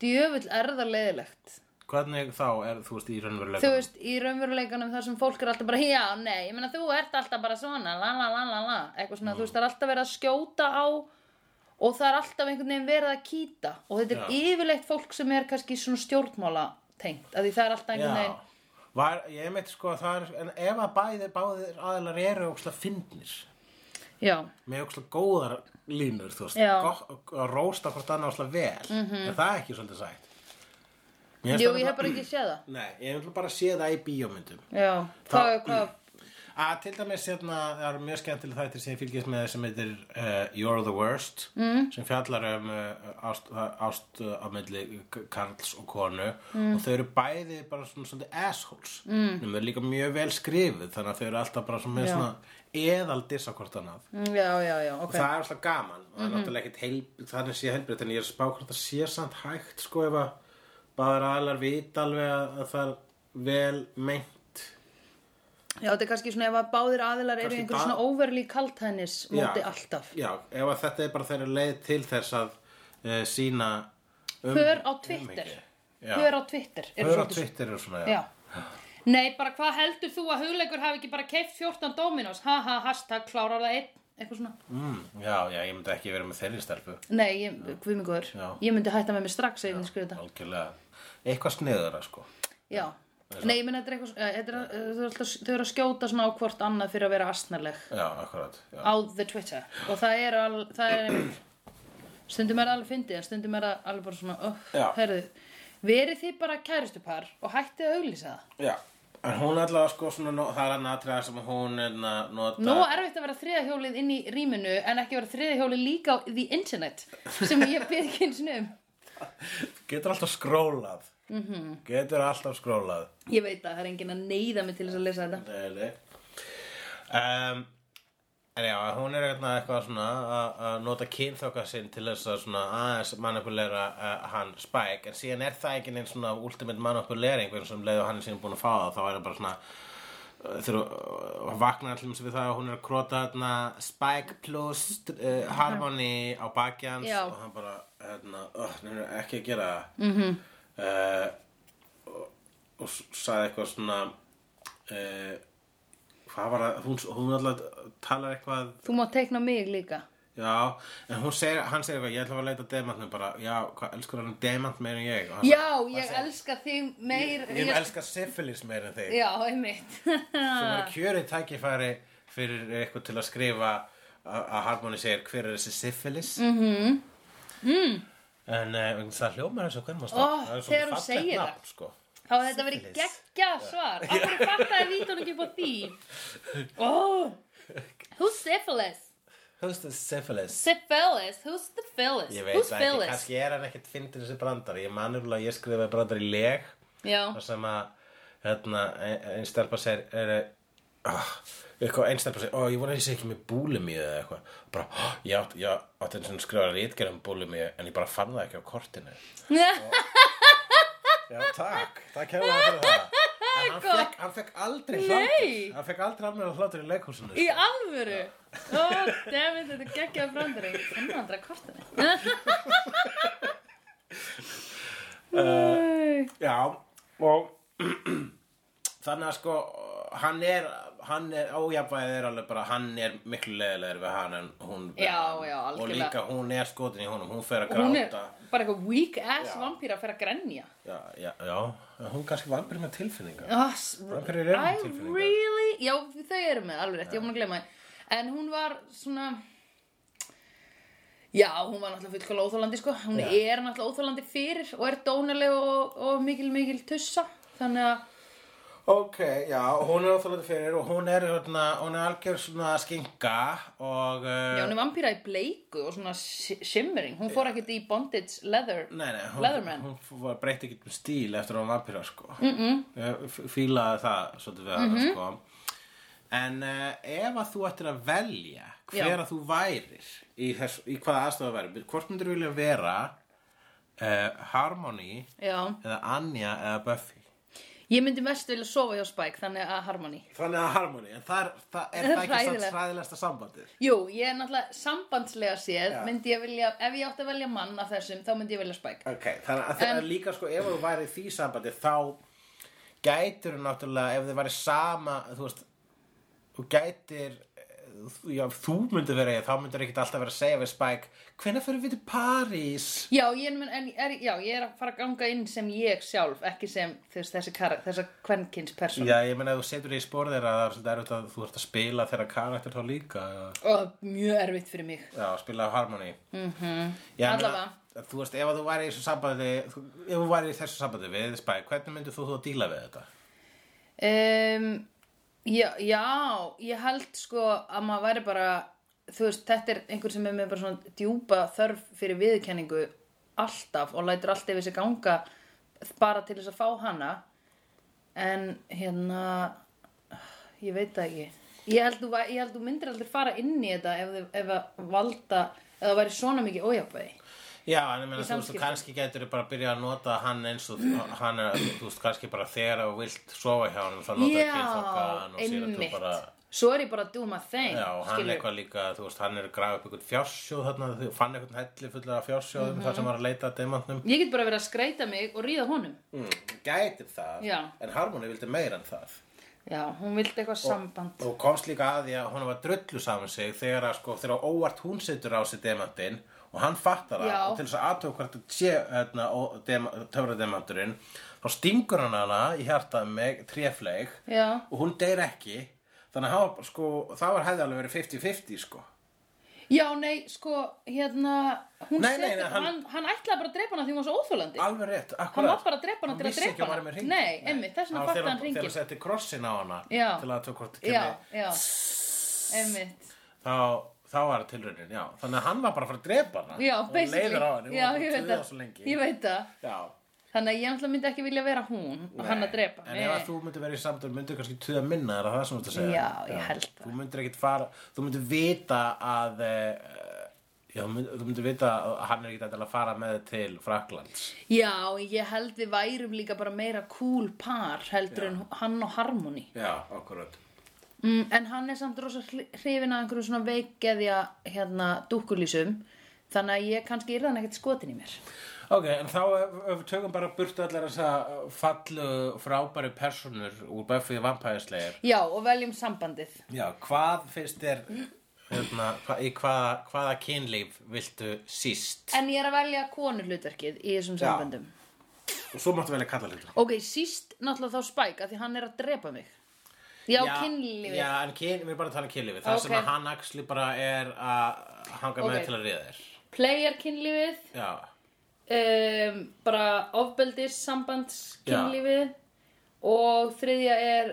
[SPEAKER 1] djöfull er það leiðilegt
[SPEAKER 2] hvernig þá er þú veist í raunverulega
[SPEAKER 1] þú veist, í raunveruleikanum þar sem fólk er alltaf bara, já, nei, ég meina þú ert alltaf bara svona, la la la la la eitthvað svona, þú veist, það er alltaf verið að skjóta á og það er alltaf einhvern veginn verið að kýta og þetta er
[SPEAKER 2] Já.
[SPEAKER 1] yfirleitt fólk sem er kannski svona stjórnmála tengt, að því það er alltaf einhvern
[SPEAKER 2] já,
[SPEAKER 1] veginn
[SPEAKER 2] var, ég meit sko að það er, en ef að bæði báðir aðilar eru óksla fyndnir
[SPEAKER 1] já,
[SPEAKER 2] með óksla góðar línur þú veist,
[SPEAKER 1] Já. Mhm.
[SPEAKER 2] gott- að rósta hvort annað óksla vel er það ekki svolítið sætt Mér finnst
[SPEAKER 1] jú,
[SPEAKER 2] það
[SPEAKER 1] ég
[SPEAKER 2] bara-
[SPEAKER 1] hef bara ekki séð það
[SPEAKER 2] Nei, ég vil bara sé það í bíómyndum
[SPEAKER 1] já, hvað, hvað
[SPEAKER 2] að til dæmis hérna það eru mjög skemmtileg þættir sem ég fylgist með sem heitir uh, You're the Worst mm. sem fjallar um uh, ást, uh, ást uh, á milli k- karls og konu og þau eru bæði bara svona, svona assholes mm. en þau eru líka mjög vel skrifuð þannig að þau eru alltaf bara svona, með
[SPEAKER 1] Já.
[SPEAKER 2] svona eðal dissa hvort annað
[SPEAKER 1] Mm, já, já, já, ok
[SPEAKER 2] og það er alltaf gaman og það er náttúrulega ekkit heilbrið þannig sé heilbrið en ég er að spá hvort það sé samt hægt sko ef að báðar aðlar vita alveg að að það er vel meint
[SPEAKER 1] já, þetta er kannski svona ef að báðir aðilar eru
[SPEAKER 2] Kannski
[SPEAKER 1] einhver
[SPEAKER 2] ba-
[SPEAKER 1] svona overly kaltænis móti
[SPEAKER 2] Já.
[SPEAKER 1] alltaf
[SPEAKER 2] Já, ef að þetta er bara þeirra leið til þess að uh, sína um,
[SPEAKER 1] Hör á Twitter.
[SPEAKER 2] umhyggju. Já.
[SPEAKER 1] hör á Twitter eru
[SPEAKER 2] Hör á
[SPEAKER 1] svolítið-
[SPEAKER 2] Twitter er svona, já.
[SPEAKER 1] Já. Nei, bara hvað heldur þú að hugleikur hafi ekki bara keift 14 Dominos? Ha ha, hashtag klárar það einn, eitthvað svona.
[SPEAKER 2] Mm, já, já, ég myndi ekki vera með þeirri stelpu
[SPEAKER 1] Nei, ég, guð mig góður.
[SPEAKER 2] Já.
[SPEAKER 1] Ég myndi hætta með mér strax ef ég myndi skrifa þetta.
[SPEAKER 2] Algjörlega, eitthvað sniðara sko
[SPEAKER 1] Já. Nei, ég myndi þetta er eitthvað, eh, þetta er, eh, þau eru alltaf, þau eru að skjóta svona á hvort annað fyrir að vera astnarleg
[SPEAKER 2] Já, akkurat já.
[SPEAKER 1] á the Twitter. Og það er alveg, það er einmitt, stundum er það alveg fyndið, en stundum er það alveg bara svona,
[SPEAKER 2] Já.
[SPEAKER 1] oh, herðu, verið þið bara kæristupar og hættið að auglýsa það.
[SPEAKER 2] já, en hún allavega sko svona, nó- það er hann aðtriða sem hún hérna, er að nota
[SPEAKER 1] Nó erfitt að vera þriða hjólið inn í rýminu en ekki vera þriða hjólið líka á the internet sem ég byrði ekki eins og um.
[SPEAKER 2] Getur alltaf skrólað -hmm.
[SPEAKER 1] Mhm.
[SPEAKER 2] Getur alltaf skrólað
[SPEAKER 1] Ég veit að það er enginn að neyða mig til þess að lesa þetta.
[SPEAKER 2] Nei, nei um, En já, hún er hérna eitthvað svona að- að nota kynþóka sinn til þess að svona aðeins manipulera uh, hann Spike en síðan er það ekki neinn svona ultimate manipulering eins og um leið og hann er síðan búin að fá það þá er það bara svona uh, þegar uh, vaknar allir eins við það og hún er að krota hérna Spike plus uh, Harmony á baki hans
[SPEAKER 1] Já.
[SPEAKER 2] og hann bara hérna, uh, hann er ekki að gera það mm -hmm. og, og s- sagði eitthvað svona uh, hvað var það hún, hún alltaf talar eitthvað
[SPEAKER 1] Þú má teikna mig líka.
[SPEAKER 2] já, en hún segir, hann segir eitthvað ég ætla að leita að demantnum bara já, hvað elskur hann demant meir en ég Og hann
[SPEAKER 1] Já, ég elska þig meir.
[SPEAKER 2] bara, ég elska syphilis meir en þig
[SPEAKER 1] Já, einmitt.
[SPEAKER 2] sem er kjörið tækifæri fyrir eitthvað til að skrifa að að Harmony segir hver er þessi syphilis mm -hmm.
[SPEAKER 1] Mhm.
[SPEAKER 2] mm. en uh, það hljómar þessu hvernig maður
[SPEAKER 1] Ó, þegar hún segir það.
[SPEAKER 2] sko.
[SPEAKER 1] Þá hefði þetta verið
[SPEAKER 2] Syphilis.
[SPEAKER 1] geggja svar. Af hverju fattaði vítunum ekki upp á því? Ó, who's syphilis?
[SPEAKER 2] who's the syphilis
[SPEAKER 1] Syphilis, who's the phyllis?
[SPEAKER 2] ég veit
[SPEAKER 1] who's
[SPEAKER 2] það ekki,
[SPEAKER 1] phyllis?
[SPEAKER 2] kannski er hann ekkit fyndin þessi brandari, ég manur að ég skrifaði brandari í leg
[SPEAKER 1] Já,
[SPEAKER 2] þar sem að hérna, einn stelpa sér er, oh, eitthvað einn stelpa sér ó, ég voru að ég sé ekki með búlimíu eða eitthvað bara, oh, ég átti ég átti eins og skrifaði rítgerð um búlimíu en ég bara fann það ekki á kortinu já, takk, það kemur hann fyrir það en hann fekk, hann fekk aldrei hlátur
[SPEAKER 1] Nei.
[SPEAKER 2] hann fekk aldrei alveg hlátur í leikhúsinu sko.
[SPEAKER 1] í alvöru. Ó, dammit, þetta er geggjaði brandari. Þannig andra kortinu. Nei.
[SPEAKER 2] Já, og þannig að sko hann er, hann er ójafnvæðið er alveg bara, hann er miklu leiðilegur við hann en hún við
[SPEAKER 1] Já,
[SPEAKER 2] hann.
[SPEAKER 1] já,
[SPEAKER 2] og
[SPEAKER 1] algjörlega.
[SPEAKER 2] líka hún er skotin í honum, hún fer að
[SPEAKER 1] Og hún er
[SPEAKER 2] gráta
[SPEAKER 1] bara eitthvað weak ass
[SPEAKER 2] Já.
[SPEAKER 1] vampýra að fyrir að grenja
[SPEAKER 2] já, já, já, en hún kannski vampir með tilfinningar
[SPEAKER 1] oh, s-
[SPEAKER 2] Vampírur eru með
[SPEAKER 1] I
[SPEAKER 2] tilfinningar.
[SPEAKER 1] really já þau eru með alveg rétt, ég mun að gleyma því en hún var svona já hún var náttúrulega fullkóla óþólandi sko hún
[SPEAKER 2] Já.
[SPEAKER 1] er náttúrulega óþólandi fyrir og er dónaleg og, og mikil mikil tussa þannig að
[SPEAKER 2] Ok, já, hún er óþálega fyrir og hún er, hérna, hún er algjör svona skinka og
[SPEAKER 1] já
[SPEAKER 2] uh,
[SPEAKER 1] hún er vampýra í bleiku og svona shi- shimmering hún fór ekkert í bondage leather
[SPEAKER 2] Nei, nei,
[SPEAKER 1] Leatherman.
[SPEAKER 2] hún, hún var- breytti ekki Eh, um stíl eftir að hún vampíra, sko. Mm -mm. Fílaði það, svolítið við mm sko. En uh, ef að þú ættir að velja hver
[SPEAKER 1] Já.
[SPEAKER 2] að þú værir í, þess, í hvaða aðstofa væri, hvort myndir vilja vera uh, Harmony
[SPEAKER 1] Já.
[SPEAKER 2] eða Anja eða Buffy?
[SPEAKER 1] Ég myndi mest vilja sofa hjá Spike, þannig að Harmony.
[SPEAKER 2] Þannig að Harmony, en það er, það er
[SPEAKER 1] Það er
[SPEAKER 2] það ekki samt
[SPEAKER 1] hræðilegt.
[SPEAKER 2] hræðilegsta sambandið.
[SPEAKER 1] Jú, ég er náttúrulega sambandslega séð,
[SPEAKER 2] Já.
[SPEAKER 1] myndi ég vilja, ef ég átti að velja mann af þessum, þá myndi ég velja Spike.
[SPEAKER 2] Ok, þannig að það
[SPEAKER 1] En-
[SPEAKER 2] er líka sko ef þú væri í því sambandi þá gætir þú náttúrulega ef þið væri sama, þú veist þú gætir eh, þú- já, þú myndir vera ég, þá myndir ekkert alltaf vera að segja við Spike, hvenær fyrir við til París?
[SPEAKER 1] Já, ég er, mun- en, er, já, ég er að fara að ganga inn sem ég sjálf, ekki sem þess, þessi karak, þessa kvenkins persónu.
[SPEAKER 2] Já, ég meina ef þú setur þig í spór þeirra það er svolítið erfitt að þú ert að spila þeirra karakter þá líka eða-
[SPEAKER 1] Og mjög erfitt fyrir mig.
[SPEAKER 2] já, spila á harmony mm -hmm. já, ég meina, þú veist, ef að þú væri í þessu sambandi þú- ef þú væri í þessu sambandi við Spike, hvernig myndir þú þú að díla við þetta?
[SPEAKER 1] Um, já, já, ég held sko að maður væri bara, þú veist, þetta er einhver sem er með bara svona djúpa þörf fyrir viðkenningu alltaf og lætur alltaf yfir sig ganga bara til þess að fá hana. En hérna, ég veit það ekki. Ég held, þú, væ- ég held þú myndir aldrei fara inn í þetta ef, þau- ef að valda, ef það væri svona mikið ójafnvægi.
[SPEAKER 2] Já, en ég meina, þú veist,
[SPEAKER 1] samskiptum.
[SPEAKER 2] kannski getur þau bara að byrja að nota hann eins og hann er, þú veist, kannski bara þegar þú vilt sofa hjá hann, þá nota
[SPEAKER 1] Já,
[SPEAKER 2] ekki þokkan og síðan þú
[SPEAKER 1] einmitt.
[SPEAKER 2] bara,
[SPEAKER 1] Svo er ég bara að do my thing.
[SPEAKER 2] já, og hann
[SPEAKER 1] skilurðu.
[SPEAKER 2] er eitthvað líka, þú veist, hann er að grafa upp einhvern fjársjóð þarna, þú fann einhvern helli fullar af fjársjóðum þar
[SPEAKER 1] Mhm.
[SPEAKER 2] sem var að leita að demantnum.
[SPEAKER 1] Ég get bara verið að skreita mig og ríða honum.
[SPEAKER 2] Mm, gætir það,
[SPEAKER 1] Já.
[SPEAKER 2] en Harmony vildi meira en það.
[SPEAKER 1] Já, hún vildi eitthvað samband.
[SPEAKER 2] Og komst líka að því að hún var drullu saman sig þegar að sko, þegar óvart hún setur á sig demantinn og hann fattar það
[SPEAKER 1] Já.
[SPEAKER 2] og til þess að aðtöku hvort þetta sé hérna, ó- dem- töfrademanturinn þá stingur hann hana í hjartað með tréfleik
[SPEAKER 1] Já.
[SPEAKER 2] og hún deyr ekki þannig að hann var, sko, það var hefði alveg verið 50-50 sko
[SPEAKER 1] Já, nei, sko, hérna, hún nei,
[SPEAKER 2] Nei, nei,
[SPEAKER 1] setur,
[SPEAKER 2] nei,
[SPEAKER 1] hann,
[SPEAKER 2] hann-
[SPEAKER 1] hann, ætlaði bara að drepa hana því hún var svo óþólandi.
[SPEAKER 2] alveg rétt, akkurat
[SPEAKER 1] var bara að drepa hana til að
[SPEAKER 2] vissi
[SPEAKER 1] drepa
[SPEAKER 2] ekki að
[SPEAKER 1] hana.
[SPEAKER 2] hann var með hringinn.
[SPEAKER 1] Nei, einmitt, þess vegna
[SPEAKER 2] Það var
[SPEAKER 1] fattaði
[SPEAKER 2] þegar-
[SPEAKER 1] hann hringinn.
[SPEAKER 2] þegar hann setti krossin á hana
[SPEAKER 1] Já.
[SPEAKER 2] til að tökur hvort
[SPEAKER 1] já,
[SPEAKER 2] kemur
[SPEAKER 1] já, einmitt.
[SPEAKER 2] þá, þá var tilraunin, já. Þannig að hann var bara að fara að drepa hana.
[SPEAKER 1] Já,
[SPEAKER 2] og
[SPEAKER 1] basically.
[SPEAKER 2] leiður á henni.
[SPEAKER 1] já, ég veit
[SPEAKER 2] það.
[SPEAKER 1] það. Ég veit það.
[SPEAKER 2] Já.
[SPEAKER 1] Þannig að ég ætla myndi ekki vilja vera hún og hann að drepa.
[SPEAKER 2] En ef að þú myndir verið í samtölu, myndir kannski tuða minna, er það það sem þú ert að segja?
[SPEAKER 1] Já, ég held það.
[SPEAKER 2] Þú myndir ekkit fara, þú myndir vita að, uh, já, þú myndir, þú myndir vita að hann er ekkit endilega að fara með þig til Fraklands.
[SPEAKER 1] Já, ég held við værum líka bara meira cool par heldur en hann og Harmony.
[SPEAKER 2] Já, akkurat.
[SPEAKER 1] Mm, en hann er samt rosa hli- hrifinn af einhverjum svona veikgeðja hérna dúkkulísum. Þannig að ég kannski yrði hann ekkert skotin í mér.
[SPEAKER 2] Ok, en þá ef, ef við tökum bara burtu allar eh, þess að fallu frábæri personur úr Buffy vampæðislegir.
[SPEAKER 1] Já, og veljum sambandið.
[SPEAKER 2] Já, hvað finnst þér hérna, hva, í hvaða, hvaða kynlíf viltu síst?
[SPEAKER 1] En ég er að velja konurhlutverkið í þessum samböndum.
[SPEAKER 2] Og svo máttu velja kalla hlutur.
[SPEAKER 1] Ok, síst náttúrulega þá Spike að því hann er að drepa mig. Já, kynlífið.
[SPEAKER 2] Já, en kyn, við erum bara að tala um kynlífið. Það
[SPEAKER 1] Ok.
[SPEAKER 2] sem að hann axli bara er að hanga með
[SPEAKER 1] Ok.
[SPEAKER 2] þér til að ríða þér.
[SPEAKER 1] Player kynlífið,
[SPEAKER 2] Já,
[SPEAKER 1] um, bara ofbeldis sambands kynlífið og þriðja er,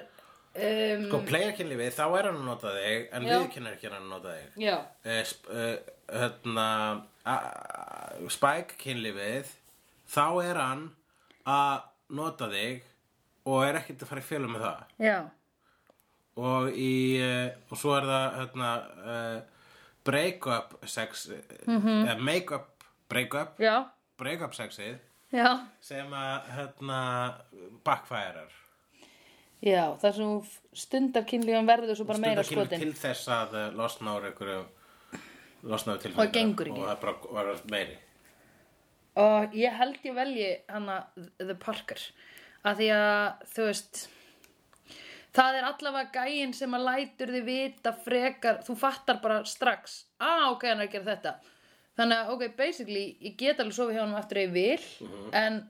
[SPEAKER 1] um,
[SPEAKER 2] sko, player kynlífið, þá er hann að nota þig, en
[SPEAKER 1] Já.
[SPEAKER 2] viðkynnar ekki hann að nota þig.
[SPEAKER 1] já,
[SPEAKER 2] Eh, sp- eh, hérna, a- a- Spike kynlífið, þá er hann að nota þig og er ekkert að fara í fjölu með það.
[SPEAKER 1] já,
[SPEAKER 2] og í uh, og svo er það hérna uh, break-up sex mm
[SPEAKER 1] Mhm.
[SPEAKER 2] -hmm. make-up break-up
[SPEAKER 1] já,
[SPEAKER 2] break-up sexið
[SPEAKER 1] já,
[SPEAKER 2] sem að hérna backfirear
[SPEAKER 1] já, þar sem þú stundar kynlífum verður svo bara meira
[SPEAKER 2] Stundar kemur
[SPEAKER 1] skotin.
[SPEAKER 2] til þess að eh, losna úr einhverju losna úr tilfinningar
[SPEAKER 1] Og gengur ekki.
[SPEAKER 2] og það bara var meiri
[SPEAKER 1] Og ég held ég velji hana The Parker að því að þú veist það er allavega gæin sem að lætur þið vita frekar þú fattar bara strax ah, ok, hann er að gera þetta þannig að ok, basically, ég get alveg sofið hjá hann eftir að ég vil en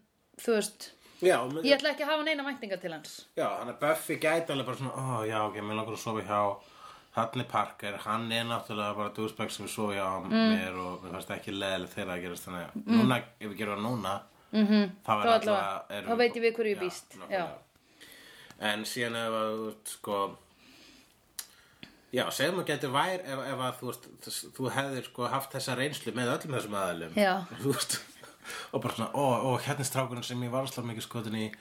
[SPEAKER 1] þú veist,
[SPEAKER 2] já, og mynd-
[SPEAKER 1] ég ætla ekki að hafa neina væntingar til hans
[SPEAKER 2] já, hann er Buffy gæti alveg bara svona ó já ok, mér langar að sofa hjá hann er Parker, hann er náttúrulega bara dúsbæk sem við sofa hjá
[SPEAKER 1] Mm.
[SPEAKER 2] mér og mér fannst ekki leðileg þegar að gerast þannig að núna, ef við gerum það núna -hmm. þá er
[SPEAKER 1] Mhm. Þá allavega,
[SPEAKER 2] allavega erum
[SPEAKER 1] þá
[SPEAKER 2] við-
[SPEAKER 1] veit ég við hverju ég
[SPEAKER 2] Já,
[SPEAKER 1] býst. Já.
[SPEAKER 2] nákvæmlega. en síðan ef að þú ert, sko já, segjum að getur vær ef, ef að þú, veist, þess- þú hefðir sko haft þessa reynslu með öllum þessum aðalum
[SPEAKER 1] Já.
[SPEAKER 2] þú veist og bara
[SPEAKER 1] Mhm.
[SPEAKER 2] svona, ó, ó, hérna er strákurinn sem ég var slá mikið skotin í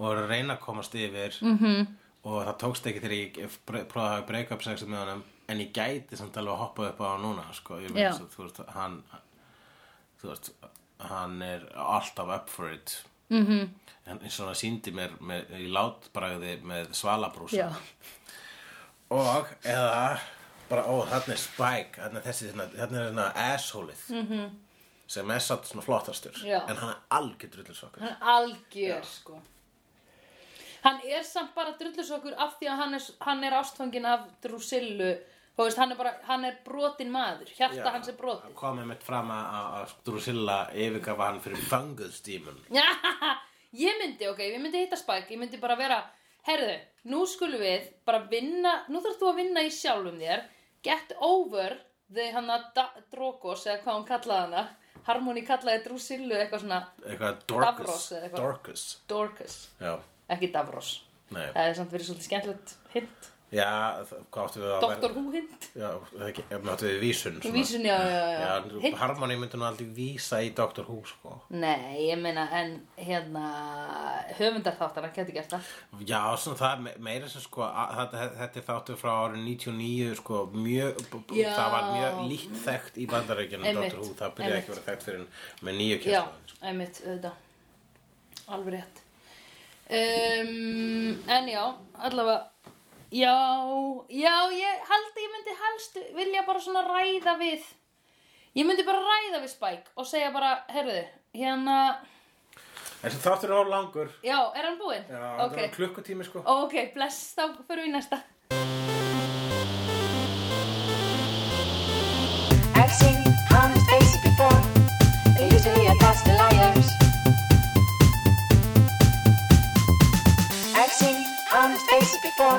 [SPEAKER 2] og er að reyna að komast yfir mm -hmm. og það tókst ekki þegar ég f- bre- prófaði að hafa break up sexið með honum en ég gæti samt alveg að hoppa upp á hann núna sko, ég
[SPEAKER 1] Já.
[SPEAKER 2] meins að þú veist hann þú veist, hann er alltaf up for it mm
[SPEAKER 1] Mhm.
[SPEAKER 2] -hmm. hann eins og hann síndi mér með, í látbragði með svalabrúsa
[SPEAKER 1] Já,
[SPEAKER 2] og eða bara ó, þarna er Spike þarna er þessi, þarna þarna er þarna assholeið -hmm. sem er satt svona flottastur
[SPEAKER 1] Mhm. Já.
[SPEAKER 2] en hann er algjör drullusokkur
[SPEAKER 1] hann er algjör sko Hann er samt bara drullusokkur af því að hann er, hann er ástfangin af Drusillu Þú veist, hann er bara, hann er brotin maður Hjarta hans er brotin
[SPEAKER 2] komið mitt fram að- að að Drusilla yfirgafa hann fyrir fanguðstímun
[SPEAKER 1] ég myndi, ok, ég myndi hitta Spike ég myndi bara vera, herðu, nú skulum við bara vinna, nú þarf þú að vinna í sjálfum þér, get over the hana Drogos eða hvað hún kallaði hana, Harmony kallaði Drusillu eitthvað svona
[SPEAKER 2] eitthvað
[SPEAKER 1] Davros
[SPEAKER 2] Dorcus
[SPEAKER 1] eða eitthvað.
[SPEAKER 2] Dorcus
[SPEAKER 1] Dorcus,
[SPEAKER 2] já,
[SPEAKER 1] ekki Davros
[SPEAKER 2] nei
[SPEAKER 1] það er samt verið svolítið skemmtilegt hint,
[SPEAKER 2] já, það- hvað áttu við að
[SPEAKER 1] Dr. Who hint
[SPEAKER 2] já, það ekki, ef maður áttu við vísun svona.
[SPEAKER 1] vísun, já, já, já,
[SPEAKER 2] já,
[SPEAKER 1] já.
[SPEAKER 2] hint.
[SPEAKER 1] hint
[SPEAKER 2] Harmony myndi nú aldrei vísa í Dr. Who sko
[SPEAKER 1] Nei, ég meina, en hérna, höfundarþáttan, hann geti gert það.
[SPEAKER 2] Já, svona það er me- meira sem sko að, þetta, þetta er þáttu frá árið 99 sko, mjög, b- b-
[SPEAKER 1] Já.
[SPEAKER 2] það var mjög lítt þekkt í bandarækjunum
[SPEAKER 1] Einmitt,
[SPEAKER 2] Dr. Who, það byrjaði ekki að vera þekkt fyrir en með nýju
[SPEAKER 1] Já,
[SPEAKER 2] kjæsla
[SPEAKER 1] einmitt, auðvitað Alveg rétt um, En já, allavega Já, já, ég held ég myndi helst vilja bara svona ræða við Ég myndi bara ræða við Spike og segja bara, heyrðu, hérna
[SPEAKER 2] sko. En sem þáttur er á langur Já,
[SPEAKER 1] Já, er hann búinn?
[SPEAKER 2] þetta
[SPEAKER 1] ok,
[SPEAKER 2] okay. var klukkutími sko
[SPEAKER 1] ok, bless, þá förum við í næsta
[SPEAKER 3] I've seen honest faces before. They usually are past the liars. I've seen honest faces before.